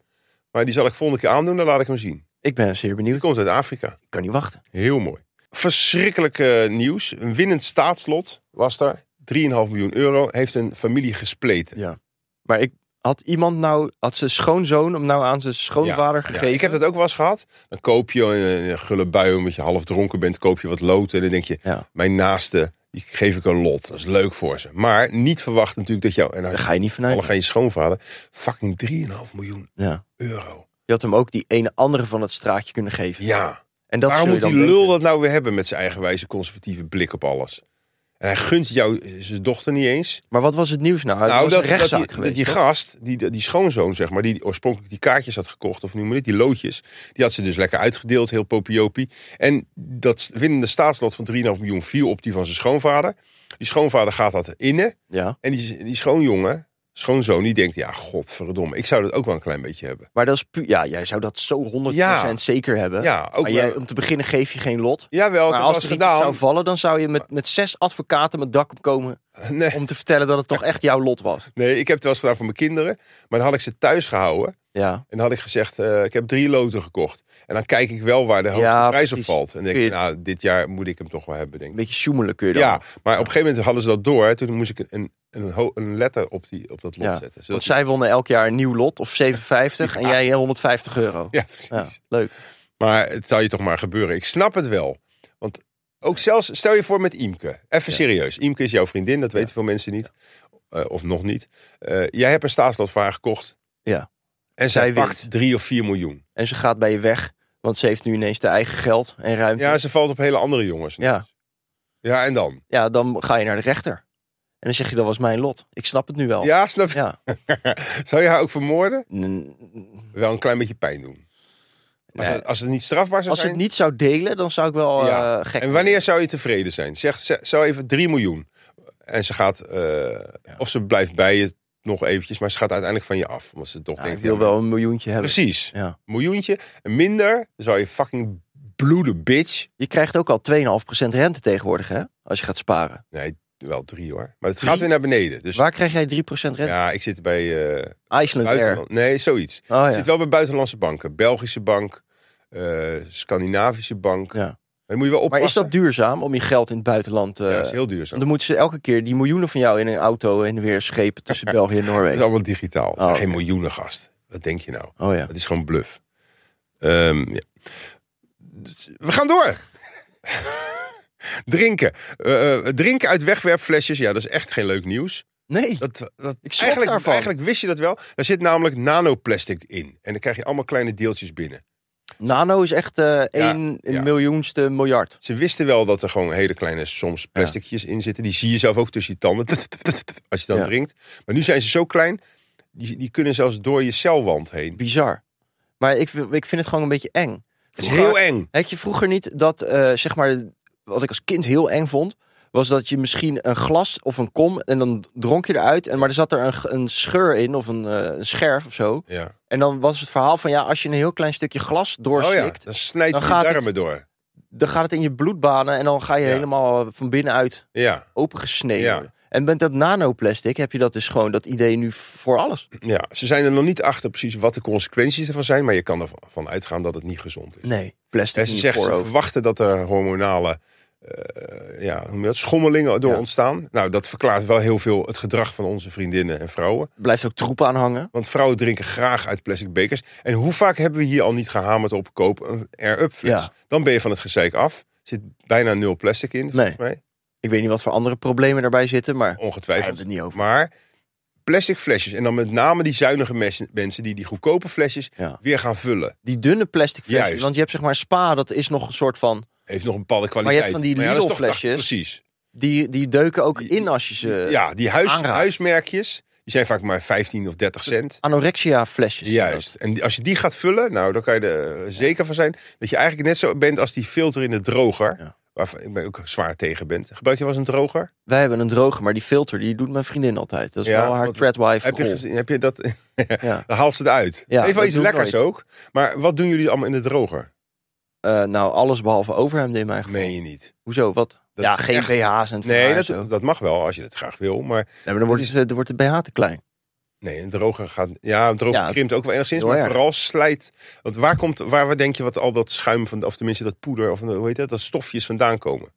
S2: Maar die zal ik volgende keer aandoen, dan laat ik hem zien.
S3: Ik ben zeer
S2: Die
S3: benieuwd.
S2: komt uit Afrika.
S3: Ik kan niet wachten.
S2: Heel mooi. Verschrikkelijk eh, nieuws. Een winnend staatslot was er. 3,5 miljoen euro. Heeft een familie gespleten.
S3: Maar ik had iemand nou... Had zijn schoonzoon hem nou aan zijn schoonvader
S2: Ja,
S3: gegeven?
S2: ik heb dat ook wel eens gehad. Dan koop je een, een gulle bui omdat je half dronken bent. Koop je wat lood en dan denk je...
S3: Ja.
S2: Mijn naaste, die geef ik een lot. Dat is leuk voor ze. Maar niet verwacht natuurlijk dat jou... En dan
S3: Daar ga je niet
S2: alle
S3: vanuit.
S2: geen schoonvader. Fucking 3,5 miljoen
S3: Ja.
S2: euro.
S3: Je had hem ook die ene andere van het straatje kunnen geven.
S2: Ja.
S3: En dat
S2: Waarom
S3: zul je
S2: moet die
S3: dan
S2: lul
S3: denken.
S2: dat nou weer hebben met zijn eigenwijze conservatieve blik op alles? En hij gunt jou eh, zijn dochter niet eens.
S3: Maar wat was het nieuws nou? Het
S2: nou,
S3: was
S2: dat, dat
S3: een
S2: die,
S3: rechtszaak
S2: dat
S3: geweest.
S2: die
S3: toch?
S2: gast, die, die schoonzoon zeg maar, die oorspronkelijk die kaartjes had gekocht, of noem maar dit, die loodjes, die had ze dus lekker uitgedeeld, heel popiopie. En dat winnende staatslot van 3,5 miljoen viel op die van zijn schoonvader. Die schoonvader gaat dat innen.
S3: Ja.
S2: En die, die schoonjongen, schoonzoon, die denkt, ja, godverdomme, ik zou dat ook wel een klein beetje hebben.
S3: Maar dat is pu- ja, jij zou dat zo 100%
S2: Ja.
S3: zeker hebben.
S2: Ja, ook
S3: maar jij,
S2: wel.
S3: om te beginnen geef je geen lot.
S2: Jawel, ik
S3: maar
S2: heb
S3: als
S2: wel
S3: er
S2: eens
S3: iets zou
S2: gedaan.
S3: vallen, dan zou je met, met zes advocaten met dak op komen
S2: Nee.
S3: om te vertellen dat het toch echt jouw lot was.
S2: Nee, ik heb het wel eens gedaan voor mijn kinderen. Maar dan had ik ze thuis gehouden.
S3: Ja.
S2: En dan had ik gezegd, eh, ik heb drie loten gekocht. En dan kijk ik wel waar de hoogste
S3: Ja,
S2: prijs op
S3: precies.
S2: valt. En dan denk
S3: Kun
S2: ik,
S3: je-
S2: nou, dit jaar moet ik hem toch wel hebben, denk
S3: Een
S2: ik.
S3: beetje sjoemelen kun je dan.
S2: Ja, maar op een gegeven moment hadden ze dat door. Hè. Toen moest ik een, een, ho- een letter op, die, op dat lot
S3: Ja,
S2: zetten. Zodat
S3: Want zij wonnen elk jaar een nieuw lot of 57 en
S2: Ja.
S3: jij 150 euro.
S2: Ja, precies.
S3: Ja, leuk.
S2: Maar het zal je toch maar gebeuren. Ik snap het wel. Want ook zelfs, stel je voor met Imke. Even
S3: Ja.
S2: serieus. Imke is jouw vriendin, dat weten veel mensen niet. Eh, of nog niet. Eh, jij hebt een staatslot voor haar gekocht.
S3: Ja.
S2: En zij,
S3: Zij
S2: pakt
S3: wint.
S2: drie of vier miljoen.
S3: En ze gaat bij je weg, want ze heeft nu ineens haar eigen geld en ruimte.
S2: Ja, ze valt op hele andere jongens.
S3: ja.
S2: Ja, en dan?
S3: Ja, dan ga je naar de rechter. En dan zeg je, dat was mijn lot. Ik snap het nu wel.
S2: Ja, snap je?
S3: Oh. Ja.
S2: Zou je haar ook vermoorden?
S3: N-
S2: Wel een klein beetje pijn doen. Als,
S3: Nee.
S2: het, als het niet strafbaar zou
S3: Als ze
S2: zijn.
S3: het niet zou delen, dan zou ik wel eh,
S2: Ja.
S3: gek
S2: En wanneer zou je tevreden zijn? Zeg, ze- zou even 3 miljoen. En ze gaat, eh, of ze blijft bij je nog eventjes, maar ze gaat uiteindelijk van je af. Omdat ze toch
S3: worden. Ja,
S2: denkt,
S3: Nou, ik wil
S2: ja,
S3: wel een miljoentje hebben.
S2: Precies.
S3: Ja.
S2: Een miljoentje. En minder, dan zou je fucking bloeden, bitch.
S3: Je krijgt ook al 2,5% rente tegenwoordig, hè? Als je gaat sparen.
S2: Nee, wel drie hoor. Maar het
S3: Drie?
S2: gaat weer naar beneden. Dus
S3: Waar krijg jij 3% rente?
S2: ja, ik zit bij eh
S3: Iceland Air.
S2: buitenland. Nee, zoiets.
S3: Oh
S2: Ik
S3: ja.
S2: zit wel bij buitenlandse banken. Belgische bank, eh, Scandinavische bank.
S3: Ja.
S2: Maar dan moet je wel
S3: Maar is
S2: oppassen.
S3: dat duurzaam om je geld in het buitenland... eh
S2: Ja, dat is heel duurzaam.
S3: want dan moeten ze elke keer die miljoenen van jou in een auto en weer schepen tussen België en
S2: Dat
S3: Noorwegen.
S2: is allemaal digitaal. Het zijn
S3: Oh,
S2: geen
S3: oké.
S2: miljoenen gast. Wat denk je nou?
S3: Oh ja.
S2: Het is gewoon bluff. Ehm, ja. Dus we gaan door. drinken. Eh, eh, drinken uit wegwerpflesjes. Ja, dat is echt geen leuk nieuws.
S3: Nee.
S2: Dat, dat,
S3: Ik schrok
S2: eigenlijk,
S3: daarvan.
S2: eigenlijk wist je dat wel. Daar zit namelijk nanoplastic in. En dan krijg je allemaal kleine deeltjes binnen.
S3: Nano is echt eh één
S2: ja.
S3: miljoenste miljard.
S2: Ze wisten wel dat er gewoon hele kleine soms plasticjes in zitten. Die zie je zelf ook tussen je tanden. Als je dan
S3: Ja.
S2: drinkt. Maar nu zijn ze zo klein. Die, die kunnen zelfs door je celwand heen.
S3: Bizar. Maar ik, wil- ik vind het gewoon een beetje eng.
S2: Het is
S3: Vroeger-
S2: heel eng.
S3: Had je vroeger niet dat, eh, zeg maar, wat ik als kind heel eng vond, was dat je misschien een glas of een kom en dan dronk je eruit, en, maar er zat er een, g- een scheur in of een, eh, een scherf of zo.
S2: Ja.
S3: En dan was het verhaal van ja, als je een heel klein stukje glas
S2: Oh ja,
S3: doorslikt,
S2: dan snijdt
S3: dan
S2: je
S3: gaat het-
S2: darmen door.
S3: dan gaat het in je bloedbanen en dan ga je
S2: Ja.
S3: helemaal van binnenuit
S2: Ja,
S3: opengesneden.
S2: Ja.
S3: En met dat nanoplastic heb je dat dus gewoon, dat idee nu voor alles.
S2: ja, ze zijn er nog niet achter precies wat de consequenties ervan zijn. Maar je kan ervan uitgaan dat het niet gezond is.
S3: Nee, plastic
S2: En
S3: in
S2: ze
S3: je
S2: zeggen, ze
S3: voorhoofd.
S2: verwachten dat er hormonale eh, ja, hoe noem je dat, schommelingen door
S3: Ja.
S2: ontstaan. Nou, dat verklaart wel heel veel het gedrag van onze vriendinnen en vrouwen.
S3: Blijft ook troep aan hangen.
S2: Want vrouwen drinken graag uit plastic bekers. En hoe vaak hebben we hier al niet gehamerd op koop een air-up fles?
S3: Ja.
S2: Dan ben je van het gezeik af. Zit bijna nul plastic in, volgens mij.
S3: Ik weet niet wat voor andere problemen daarbij zitten, maar daar hebben
S2: Ongetwijfeld.
S3: we het niet over.
S2: Maar plastic flesjes. En dan met name die zuinige mes- mensen die die goedkope flesjes
S3: Ja.
S2: weer gaan vullen.
S3: Die dunne plastic flesjes.
S2: Juist.
S3: Want je hebt zeg maar spa, dat is nog een soort van...
S2: Heeft nog een bepaalde
S3: je hebt
S2: kwaliteit.
S3: van die
S2: ja, dat is toch-
S3: Lidl-flesjes.
S2: Precies.
S3: Die, die deuken ook
S2: Die-
S3: in als je ze...
S2: ja, die huis,
S3: aanraakt.
S2: huismerkjes. Die zijn vaak maar 15 of 30 cent.
S3: Anorexia flesjes.
S2: Juist. En die- als je die gaat vullen, nou, dan kan je er eh, zeker van zijn dat je eigenlijk net zo bent als die filter in de droger.
S3: Ja.
S2: Waarvan ik ben ook zwaar tegen ben. Gebruik je wel eens een droger?
S3: Wij hebben een droger, maar die filter die doet mijn vriendin altijd. Dat is
S2: Ja,
S3: wel haar
S2: want-
S3: threadwife
S2: Heb je,
S3: rol.
S2: gezien, heb je dat?
S3: Ja.
S2: dan haalt ze het uit.
S3: Ja,
S2: Even wel
S3: dat
S2: iets
S3: doe ik
S2: lekkers
S3: nooit.
S2: ook. Maar wat doen jullie allemaal in de droger?
S3: Eh, nou, alles behalve overhemden in mijn geval.
S2: Meen je niet.
S3: Hoezo? Wat?
S2: Dat
S3: ja,
S2: is
S3: geen
S2: echt-
S3: BH's en
S2: Nee,
S3: dat...
S2: dat, dat mag wel als je het graag wil. Maar
S3: nee, maar dan wordt, het, eh, dan wordt de BH te klein.
S2: nee, een droger gaat. Ja, een droger
S3: Ja,
S2: krimpt ook wel enigszins.
S3: heel
S2: Maar
S3: erg.
S2: vooral slijt. Want waar komt, waar, waar denk je wat al dat schuim van, of tenminste dat poeder, of hoe heet dat, dat stofjes vandaan komen?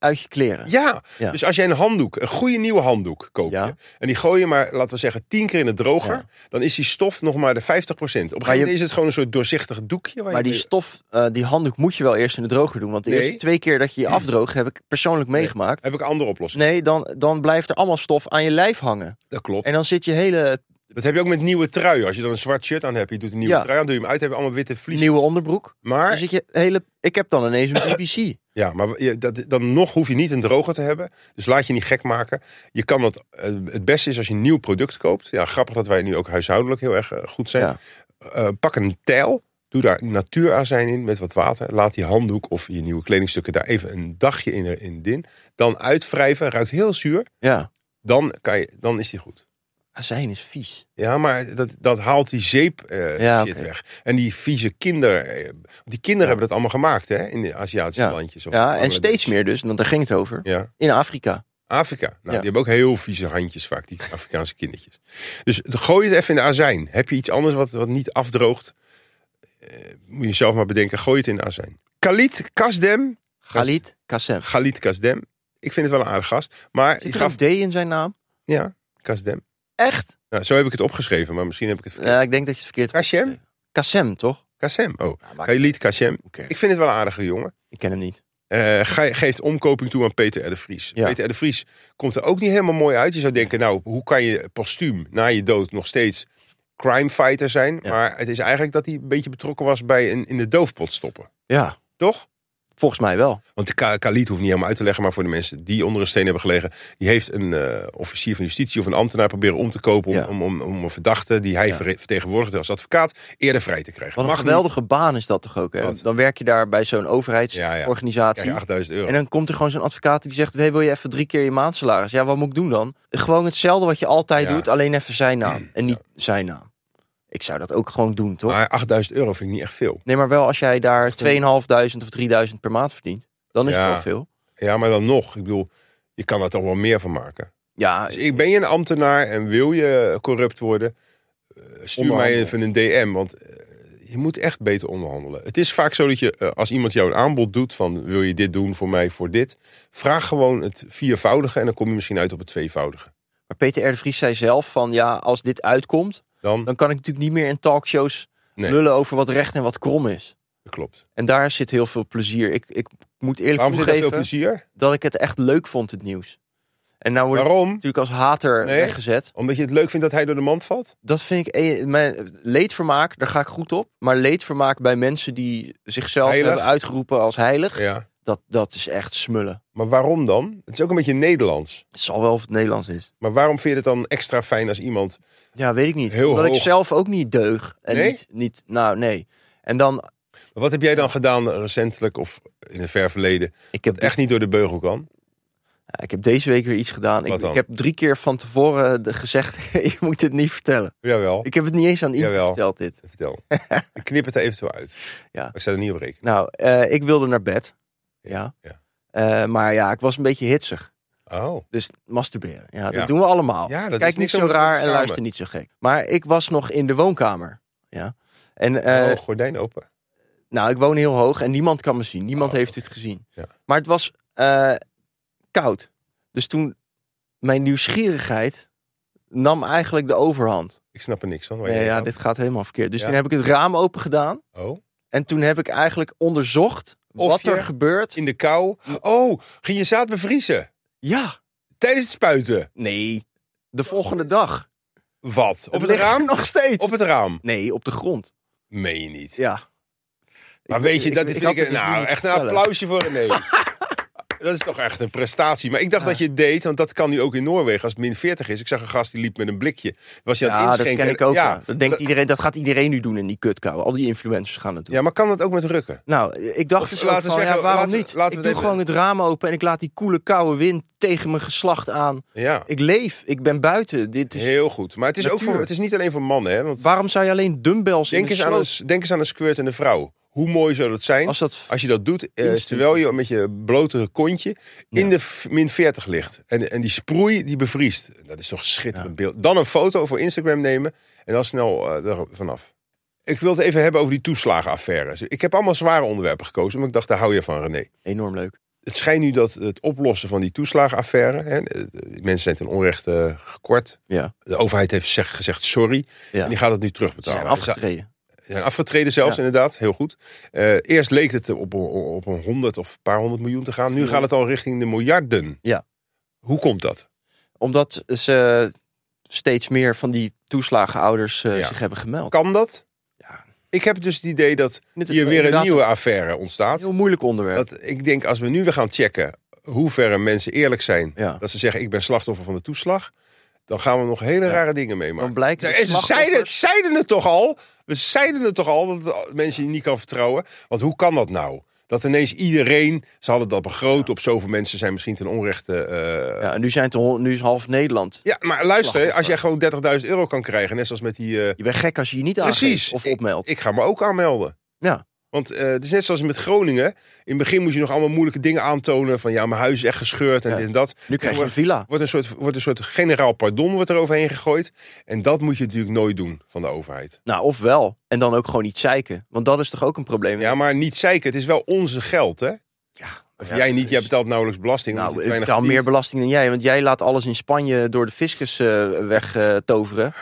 S3: Uit je kleren.
S2: Ja.
S3: Ja.
S2: Dus als jij een handdoek, een goede nieuwe handdoek koopt.
S3: Ja.
S2: Je, en die gooi je maar, laten we zeggen, tien keer in de droger.
S3: Ja.
S2: Dan is die stof nog maar de 50%. Op een gegeven
S3: Maar je-
S2: moment is het gewoon een soort doorzichtig doekje. Waar
S3: Maar
S2: je
S3: die stof, eh, die handdoek moet je wel eerst in de droger doen. Want de
S2: Nee.
S3: eerste twee keer dat je je afdroogt, heb ik persoonlijk meegemaakt.
S2: Heb ik een andere oplossing?
S3: Nee, dan, dan blijft er allemaal stof aan je lijf hangen.
S2: Dat klopt.
S3: En dan zit je hele
S2: Dat heb je ook met nieuwe truien. Als je dan een zwart shirt aan hebt, je doet een nieuwe
S3: Ja.
S2: trui aan, doe je hem uit, heb je allemaal witte vlies.
S3: nieuwe onderbroek.
S2: Maar
S3: Dan zit je hele, ik heb dan ineens een BBC.
S2: Ja, maar je- dat, dan nog hoef je niet een droger te hebben. Dus laat je niet gek maken. Je kan dat, eh, het beste is als je een nieuw product koopt. Ja, grappig dat wij nu ook huishoudelijk heel erg eh, goed zijn.
S3: Ja.
S2: Eh, pak een tijl. Doe daar natuurazijn in met wat water. Laat die handdoek of je nieuwe kledingstukken daar even een dagje in, in din. Dan uitwrijven. Ruikt heel zuur.
S3: Ja,
S2: Dan, kan je, dan is die goed.
S3: Azijn is vies.
S2: Ja, maar dat, dat haalt die zeep eh,
S3: Ja,
S2: shit
S3: oké.
S2: weg. En die vieze kinderen. eh, want die kinderen hebben dat allemaal gemaakt, hè? In de Aziatische
S3: Ja.
S2: landjes. of
S3: Ja, en
S2: Bangladesh.
S3: steeds meer dus, want daar ging het over.
S2: Ja,
S3: In Afrika.
S2: Afrika. Nou, die
S3: Ja.
S2: hebben ook heel vieze handjes vaak, die Afrikaanse kindertjes. Dus gooi het even in de azijn. Heb je iets anders wat, wat niet afdroogt? Eh, moet je zelf maar bedenken. Gooi het in de azijn. Khalid Kasdem.
S3: Khalid Kassem.
S2: Khalid Kasdem. Ik vind het wel een aardig gast. Maar die
S3: Zit er een
S2: gaf...
S3: D in zijn naam?
S2: Ja, Kasdem.
S3: Echt?
S2: Nou, zo heb ik het opgeschreven, maar misschien heb ik het verkeerd.
S3: Ja, ik denk dat je het verkeerd hebt
S2: Kassem?
S3: geschreven. Kassem, toch?
S2: Kassem. Oh,
S3: Ja, maakt
S2: Khalid Kasem.
S3: niet uit.
S2: Ik vind het wel een aardige jongen.
S3: Ik ken hem niet.
S2: eh, ge- geeft omkoping toe aan Peter R. de Vries.
S3: Ja.
S2: Peter R. de Vries komt er ook niet helemaal mooi uit. Je zou denken, nou, hoe kan je postuum na je dood nog steeds crimefighter zijn?
S3: Ja.
S2: Maar het is eigenlijk dat hij een beetje betrokken was bij een in de doofpot stoppen.
S3: Ja,
S2: Toch?
S3: volgens mij wel.
S2: Want de Ka- Khalid hoeft niet helemaal uit te leggen, maar voor de mensen die onder een steen hebben gelegen, die heeft een eh, officier van justitie of een ambtenaar proberen om te kopen om,
S3: Ja.
S2: om, om, om een verdachte die hij
S3: Ja.
S2: verre- vertegenwoordigde als advocaat eerder vrij te krijgen.
S3: Wat een
S2: Mag niet.
S3: geweldige baan is dat toch ook, hè?
S2: Wat?
S3: Dan werk je daar bij zo'n
S2: Ja, ja.
S3: overheidsorganisatie.
S2: Krijg je 8000 euro.
S3: En dan komt er gewoon zo'n advocaat die zegt... Hey, wil je even drie keer je maandsalaris? Ja, wat moet ik doen dan? Gewoon hetzelfde wat je altijd
S2: Ja.
S3: doet, alleen even zijn naam. En niet zijn naam. Ik zou dat ook gewoon doen, toch?
S2: Maar 8000 euro vind ik niet echt veel.
S3: Nee, maar wel als jij daar 2500 of 3000 per maand verdient. Dan is
S2: Ja.
S3: het wel veel.
S2: Ja, maar dan nog. Ik bedoel, je kan daar toch wel meer van maken.
S3: Ja,
S2: Dus ik ben je een ambtenaar en wil je corrupt worden, eh, stuur mij
S3: Onderhandelen.
S2: even een DM. Want eh, je moet echt beter onderhandelen. Het is vaak zo dat je, eh, als iemand jou een aanbod doet van wil je dit doen voor mij, voor dit. Vraag gewoon het viervoudige en dan kom je misschien uit op het tweevoudige.
S3: maar Peter R. de Vries zei zelf van... Ja, als dit uitkomt,
S2: Dan,
S3: dan kan ik natuurlijk niet meer in talkshows...
S2: Nee.
S3: lullen over wat recht en wat krom is.
S2: klopt.
S3: En daar zit heel veel plezier. Ik, ik moet eerlijk
S2: Waarom zit dat veel
S3: toegeven
S2: plezier?
S3: dat ik het echt leuk vond, het nieuws. En nou word ik
S2: Waarom?
S3: natuurlijk als hater
S2: Nee.
S3: weggezet.
S2: Omdat je het leuk vindt dat hij door de mand valt?
S3: Dat vind ik... eh, Mijn leedvermaak, daar ga ik goed op. Maar leedvermaak bij mensen die zichzelf
S2: Heilig.
S3: hebben uitgeroepen als heilig...
S2: Ja.
S3: Dat, dat is echt smullen.
S2: Maar waarom dan? Het is ook een beetje Nederlands.
S3: Het zal wel of het Nederlands is.
S2: Maar waarom vind je het dan extra fijn als iemand...
S3: Ja, weet ik niet.
S2: Heel
S3: Omdat
S2: hoog.
S3: ik zelf ook niet deug. En
S2: Nee?
S3: niet, niet... Nou, nee. En dan...
S2: Wat heb jij dan gedaan recentelijk of in het ver verleden
S3: Ik heb,
S2: echt niet door de beugel kan.
S3: ja, ik heb deze week weer iets gedaan.
S2: Wat
S3: Ik,
S2: dan?
S3: ik heb drie keer van tevoren eh, de- gezegd... je moet dit niet vertellen.
S2: Jawel.
S3: Ik heb het niet eens aan iemand
S2: Jawel.
S3: verteld dit.
S2: Vertel. ik knip het er eventueel uit.
S3: Ja.
S2: Maar Ik sta er niet op rekenen.
S3: Nou, eh, ik wilde naar bed. Ja.
S2: Ja.
S3: Eh, maar ja, ik was een beetje hitsig.
S2: Oh.
S3: Dus masturberen. Ja,
S2: Ja.
S3: dat doen we allemaal.
S2: Ja, dat
S3: Kijk
S2: is
S3: niet
S2: niks
S3: zo
S2: om voor te
S3: raar en
S2: schamen.
S3: luister niet zo gek. Maar ik was nog in de woonkamer. Ja. En eh,
S2: oh, gordijn open.
S3: nou, ik woon heel hoog en niemand kan me zien. Niemand
S2: Oh,
S3: heeft
S2: oké.
S3: dit gezien.
S2: Ja.
S3: Maar het was eh, koud. Dus toen mijn nieuwsgierigheid nam eigenlijk de overhand.
S2: Ik snap er niks van. waar
S3: Nee,
S2: jij
S3: ja,
S2: gaat.
S3: dit gaat helemaal verkeerd. Dus
S2: Oh, Ja.
S3: toen heb ik het raam open gedaan.
S2: Oh.
S3: En toen heb ik eigenlijk onderzocht
S2: Of
S3: wat
S2: je-
S3: er gebeurt.
S2: In de kou. Oh, ging je zaad bevriezen?
S3: Ja,
S2: Tijdens het spuiten?
S3: nee. De volgende dag.
S2: Wat? Op het
S3: ligt
S2: raam?
S3: Nog steeds.
S2: Op het raam?
S3: Nee, op de grond.
S2: Meen je niet.
S3: Ja.
S2: Maar
S3: Ik-
S2: weet je,
S3: ik-
S2: dat
S3: ik
S2: vind
S3: had
S2: ik...
S3: het dus niet
S2: nou,
S3: moeten
S2: echt een
S3: vertellen.
S2: applausje voor René. dat is toch echt een prestatie. Maar ik dacht
S3: Ja.
S2: dat je het deed, want dat kan nu ook in Noorwegen als het min 40 is. Ik zag een gast die liep met een blikje. Was hij aan
S3: Ja,
S2: het
S3: dat
S2: inschenken?
S3: ken ik ook.
S2: Ja,
S3: ja. Dat, denkt iedereen, dat gaat iedereen nu doen in die kutkou. Al die influencers gaan het doen.
S2: ja, maar kan dat ook met rukken?
S3: Nou, ik dacht
S2: Of
S3: dus
S2: laten
S3: ook
S2: we
S3: van,
S2: zeggen,
S3: ja, waarom
S2: laten we-
S3: niet?
S2: laten we
S3: ik
S2: het
S3: doe
S2: even-
S3: gewoon het raam open en ik laat die koele, koude wind tegen mijn geslacht aan.
S2: Ja.
S3: Ik leef, ik ben buiten. Dit is...
S2: Heel goed. Maar het is, ook
S3: Natuur.
S2: voor, het is niet alleen voor mannen. Hè? Want
S3: Waarom zou je alleen dumbbells in
S2: denk,
S3: de
S2: eens aan
S3: sloot-
S2: een, denk eens aan een squirt en een vrouw. Hoe mooi zou dat zijn
S3: Als
S2: als,
S3: dat...
S2: je dat doet eh,
S3: Instant.
S2: terwijl je met je blote kontje in de f- min 40 ligt. En, en die sproei die bevriest. Dat is toch een schitterend
S3: Ja.
S2: beeld. Dan een foto voor Instagram nemen en dan snel eh, er vanaf. Ik wil het even hebben over die toeslagenaffaire. Ik heb allemaal zware onderwerpen gekozen, want ik dacht, daar hou je van, René.
S3: Enorm leuk.
S2: Het schijnt nu dat het oplossen van die toeslagenaffaire... Hè, eh, mensen zijn ten onrechte eh, gekort.
S3: Ja.
S2: De overheid heeft zeg- gezegd sorry.
S3: Ja.
S2: En die gaat het nu
S3: Ze
S2: terugbetalen. Dus
S3: zijn afgetreden.
S2: Ze zijn afgetreden zelfs,
S3: Ja.
S2: inderdaad. Heel goed. Eh, eerst leek het op, een- op een honderd of een paar honderd miljoen te gaan. Nu gaat het al richting de miljarden.
S3: Ja.
S2: Hoe komt dat?
S3: Omdat ze steeds meer van die toeslagenouders eh,
S2: Ja.
S3: zich hebben gemeld.
S2: Kan dat?
S3: Ja.
S2: Ik heb dus het idee dat
S3: Dit is
S2: hier weer een
S3: inderdaad
S2: nieuwe affaire
S3: een
S2: ontstaat.
S3: heel moeilijk onderwerp.
S2: Dat ik denk, als we nu weer gaan checken hoe ver mensen eerlijk zijn...
S3: ja.
S2: dat ze zeggen, ik ben slachtoffer van de toeslag... dan gaan we nog hele
S3: Ja.
S2: rare dingen meemaken.
S3: Dan dus blijkt
S2: Ja,
S3: dat
S2: en ze zeiden, het-
S3: slachtoffers-
S2: zeiden het toch al. We zeiden het toch al dat het mensen je niet kan vertrouwen. Want hoe kan dat nou? Dat ineens iedereen, ze hadden dat begroot op zoveel mensen, zijn misschien ten onrechte. eh, ja.
S3: Ja, en nu, zijn het, hon- nu is half Nederland.
S2: maar luister,
S3: Slachtoffer.
S2: als jij gewoon 30.000 euro kan krijgen, net zoals met die. eh,
S3: Je bent gek als je je niet aangeeft
S2: Precies.
S3: of opmeldt.
S2: ik ga me ook aanmelden.
S3: Ja.
S2: Want eh, het is net zoals met Groningen. In het begin moest je nog allemaal moeilijke dingen aantonen. Van ja, mijn huis is echt gescheurd en
S3: Ja.
S2: dit en dat.
S3: nu krijg je een
S2: wordt,
S3: villa.
S2: wordt, een soort, wordt een soort generaal pardon wordt er overheen gegooid. En dat moet je natuurlijk nooit doen van de overheid.
S3: Nou, of wel. En dan ook gewoon niet zeiken. Want dat is toch ook een probleem?
S2: Ja, maar niet zeiken. Het is wel onze geld, hè? Of
S3: Ja,
S2: jij
S3: dat
S2: niet, jij
S3: is-
S2: betaalt nauwelijks belasting. omdat
S3: Nou,
S2: je
S3: ik
S2: te weinig
S3: betaal meer
S2: verdient.
S3: belasting dan jij. Want jij laat alles in Spanje door de fiscus eh, wegtoveren.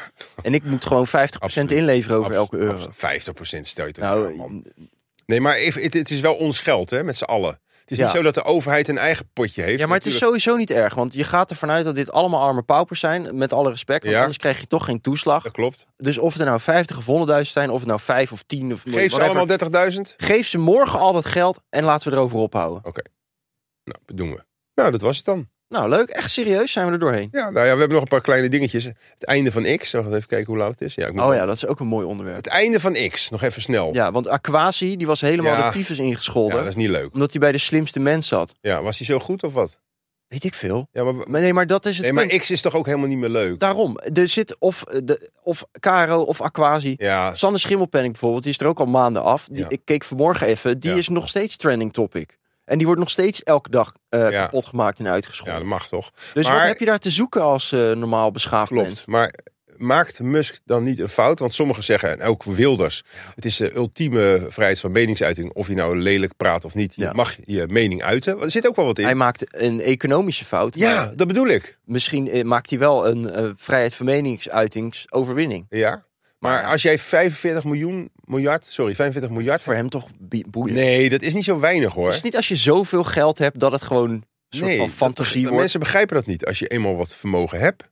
S3: en ik moet gewoon 50%
S2: Absoluut.
S3: inleveren over
S2: Abs-
S3: elke euro.
S2: abs- 50% stel je toch
S3: Nou,
S2: niet aan, man. Nee, maar if- het, het is wel ons geld, hè? Met z'n allen. Het is
S3: Ja.
S2: niet zo dat de overheid een eigen potje heeft.
S3: ja, maar het is
S2: Natuurlijk-
S3: sowieso niet erg. Want je gaat ervan uit dat dit allemaal arme paupers zijn. Met alle respect. Want
S2: Ja.
S3: anders krijg je toch geen toeslag.
S2: Dat klopt.
S3: Dus of het er nou 50 of 100.000 zijn. Of het nou 5 of 10 of
S2: Geef ze
S3: whatever.
S2: allemaal 30.000?
S3: Geef ze morgen al dat geld en laten we erover ophouden.
S2: Nou, dat doen we. Nou, dat was het dan.
S3: Nou, leuk. Echt serieus zijn we er doorheen.
S2: Ja, nou ja, we hebben nog een paar kleine dingetjes. Het einde van X. Zal ik even kijken hoe laat het is? Ja, ik moet
S3: Oh ja, dat is ook een mooi onderwerp.
S2: Het einde van X. Nog even snel. Ja,
S3: Ja, want Aquasi die was helemaal
S2: Ja.
S3: de tyfus ingescholden.
S2: dat is niet leuk.
S3: Omdat hij bij de slimste mens zat.
S2: Ja, was hij zo goed of wat?
S3: Weet ik veel.
S2: Ja, maar,
S3: Maar nee, maar dat is het
S2: nee, maar
S3: punt.
S2: X is toch ook helemaal niet meer leuk?
S3: Daarom. Er zit of, eh, de, of Caro of Aquasi.
S2: Ja,
S3: Sander Schimmelpenning bijvoorbeeld, die is er ook al maanden af. Die,
S2: Ja.
S3: Ik keek vanmorgen even. Die
S2: Ja.
S3: is nog steeds trending topic. En die wordt nog steeds elke dag eh,
S2: Ja.
S3: kapot gemaakt en
S2: ja,
S3: uitgescholden.
S2: dat mag toch?
S3: dus
S2: maar-
S3: wat heb je daar te zoeken als eh, normaal beschaafd mens?
S2: Klopt. Maar maakt Musk dan niet een fout? Want sommigen zeggen, en ook Wilders, het is de ultieme vrijheid van meningsuiting. Of je nou lelijk praat of niet. Je
S3: Ja.
S2: mag je mening uiten. Want Er zit ook wel wat in.
S3: Hij maakt een economische fout.
S2: ja,
S3: maar
S2: dat bedoel ik.
S3: Misschien eh, maakt hij wel een eh, vrijheid van meningsuitingsoverwinning.
S2: Ja. Maar als jij 45 miljoen, miljard, sorry, 45 miljard...
S3: Voor hem toch bi- boeiend.
S2: Nee, dat is niet zo weinig hoor.
S3: Het is niet als je zoveel geld hebt dat het gewoon een soort van
S2: dat-
S3: fantasie
S2: dat-
S3: wordt.
S2: Mensen begrijpen dat niet. Als je eenmaal wat vermogen hebt,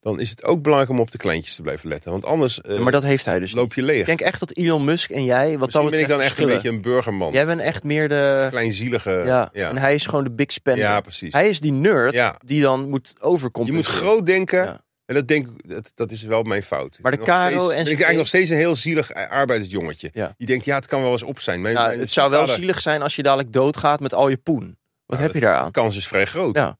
S2: dan is het ook belangrijk om op de kleintjes te blijven letten. Want anders eh,
S3: Ja, Maar dat heeft hij dus.
S2: loop je leeg.
S3: Ik denk echt dat Elon Musk en jij, wat
S2: Misschien
S3: dat
S2: ben ik
S3: betreft,
S2: dan echt een beetje
S3: verschillen.
S2: een burgerman.
S3: Jij bent echt meer de...
S2: Kleinzielige.
S3: Ja.
S2: Ja,
S3: en
S2: ja.
S3: hij is gewoon de big spender.
S2: precies.
S3: hij is die nerd
S2: Ja.
S3: die dan moet
S2: Je
S3: overkomen.
S2: moet groot denken.
S3: Ja.
S2: En dat, denk, ik- dat, dat is wel mijn fout. Ik
S3: Maar de
S2: ben nog
S3: Caro
S2: steeds-
S3: en
S2: ben ik
S3: zijn
S2: eigenlijk nog steeds een heel zielig eh, arbeidersjongetje.
S3: Ja.
S2: Die denkt, ja, het kan wel eens op zijn. Mijn,
S3: Ja,
S2: mijn
S3: Nou, het zou wel
S2: stiefvader-
S3: zielig zijn als je dadelijk doodgaat met al je poen. Wat
S2: Nou,
S3: heb je daaraan?
S2: kans is vrij groot.
S3: Ja.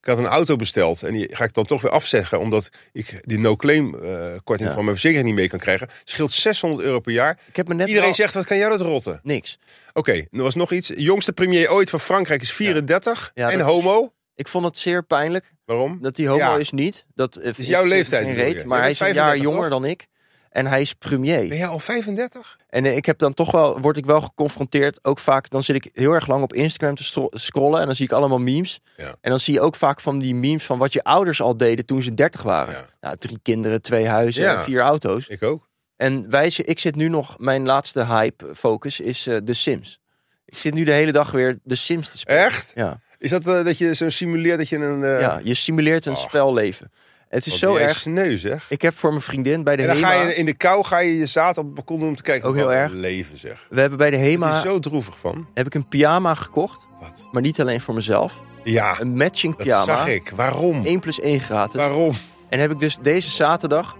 S2: Ik had een auto besteld en die ga ik dan toch weer afzeggen. Omdat ik die no-claim eh, korting
S3: Ja.
S2: van mijn verzekering niet mee kan krijgen. Scheelt 600 euro per jaar.
S3: Ik heb me net
S2: Iedereen
S3: wel-
S2: zegt, wat kan jij dat rotten?
S3: niks.
S2: Oké, er was nog iets. De jongste premier ooit van Frankrijk is 34.
S3: Ja,
S2: en
S3: dat-
S2: homo.
S3: Ik vond het zeer pijnlijk
S2: Waarom?
S3: dat hij homo
S2: Ja.
S3: is niet. Dat eh, vind ik
S2: jouw
S3: geen
S2: leeftijd,
S3: reet,
S2: bedoel je? Jij
S3: maar hij is
S2: bent
S3: een jaar
S2: 35,
S3: jonger
S2: toch?
S3: dan ik. En hij is premier.
S2: Ben jij al 35?
S3: En eh, ik heb dan toch wel, word ik wel geconfronteerd. Ook vaak, dan zit ik heel erg lang op Instagram te stro- scrollen. En dan zie ik allemaal memes.
S2: Ja.
S3: En dan zie je ook vaak van die memes van wat je ouders al deden toen ze 30 waren.
S2: Ja.
S3: Nou, drie kinderen, twee huizen,
S2: Ja.
S3: en vier auto's.
S2: Ik ook.
S3: En wij, zi- ik zit nu nog, mijn laatste hype focus is eh, de Sims. Ik zit nu de hele dag weer de Sims te spelen.
S2: Echt?
S3: Ja,
S2: Is dat eh, dat je zo simuleert dat je een... eh,
S3: ja, je simuleert een
S2: Ach.
S3: spelleven. Het is
S2: wat
S3: zo
S2: ben jij
S3: erg.
S2: sneu zeg.
S3: Ik heb voor mijn vriendin bij de
S2: En dan
S3: HEMA...
S2: ga je in de kou ga je je zaad op het balkon doen om te kijken.
S3: Ook heel
S2: Wat een
S3: erg.
S2: leven zeg.
S3: We hebben bij de
S2: Ik is
S3: HEMA...
S2: zo droevig van.
S3: Heb ik een pyjama gekocht.
S2: Wat?
S3: Maar niet alleen voor mezelf.
S2: Ja,
S3: Een matching
S2: dat
S3: pyjama.
S2: zag ik. Waarom?
S3: 1 plus 1 gratis.
S2: Waarom?
S3: En heb ik dus deze zaterdag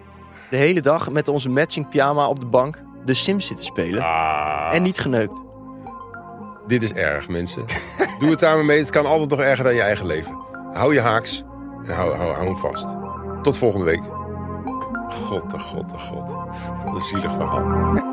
S3: de hele dag met onze matching pyjama op de bank de Sims zitten spelen.
S2: Ah,
S3: En niet geneukt.
S2: Dit is erg mensen. Doe het daarmee mee. Het kan altijd nog erger dan je eigen leven. Hou je haaks en hou, hou, hou hem vast. oh Tot volgende week. God, de god, de god. Wat een zielig verhaal.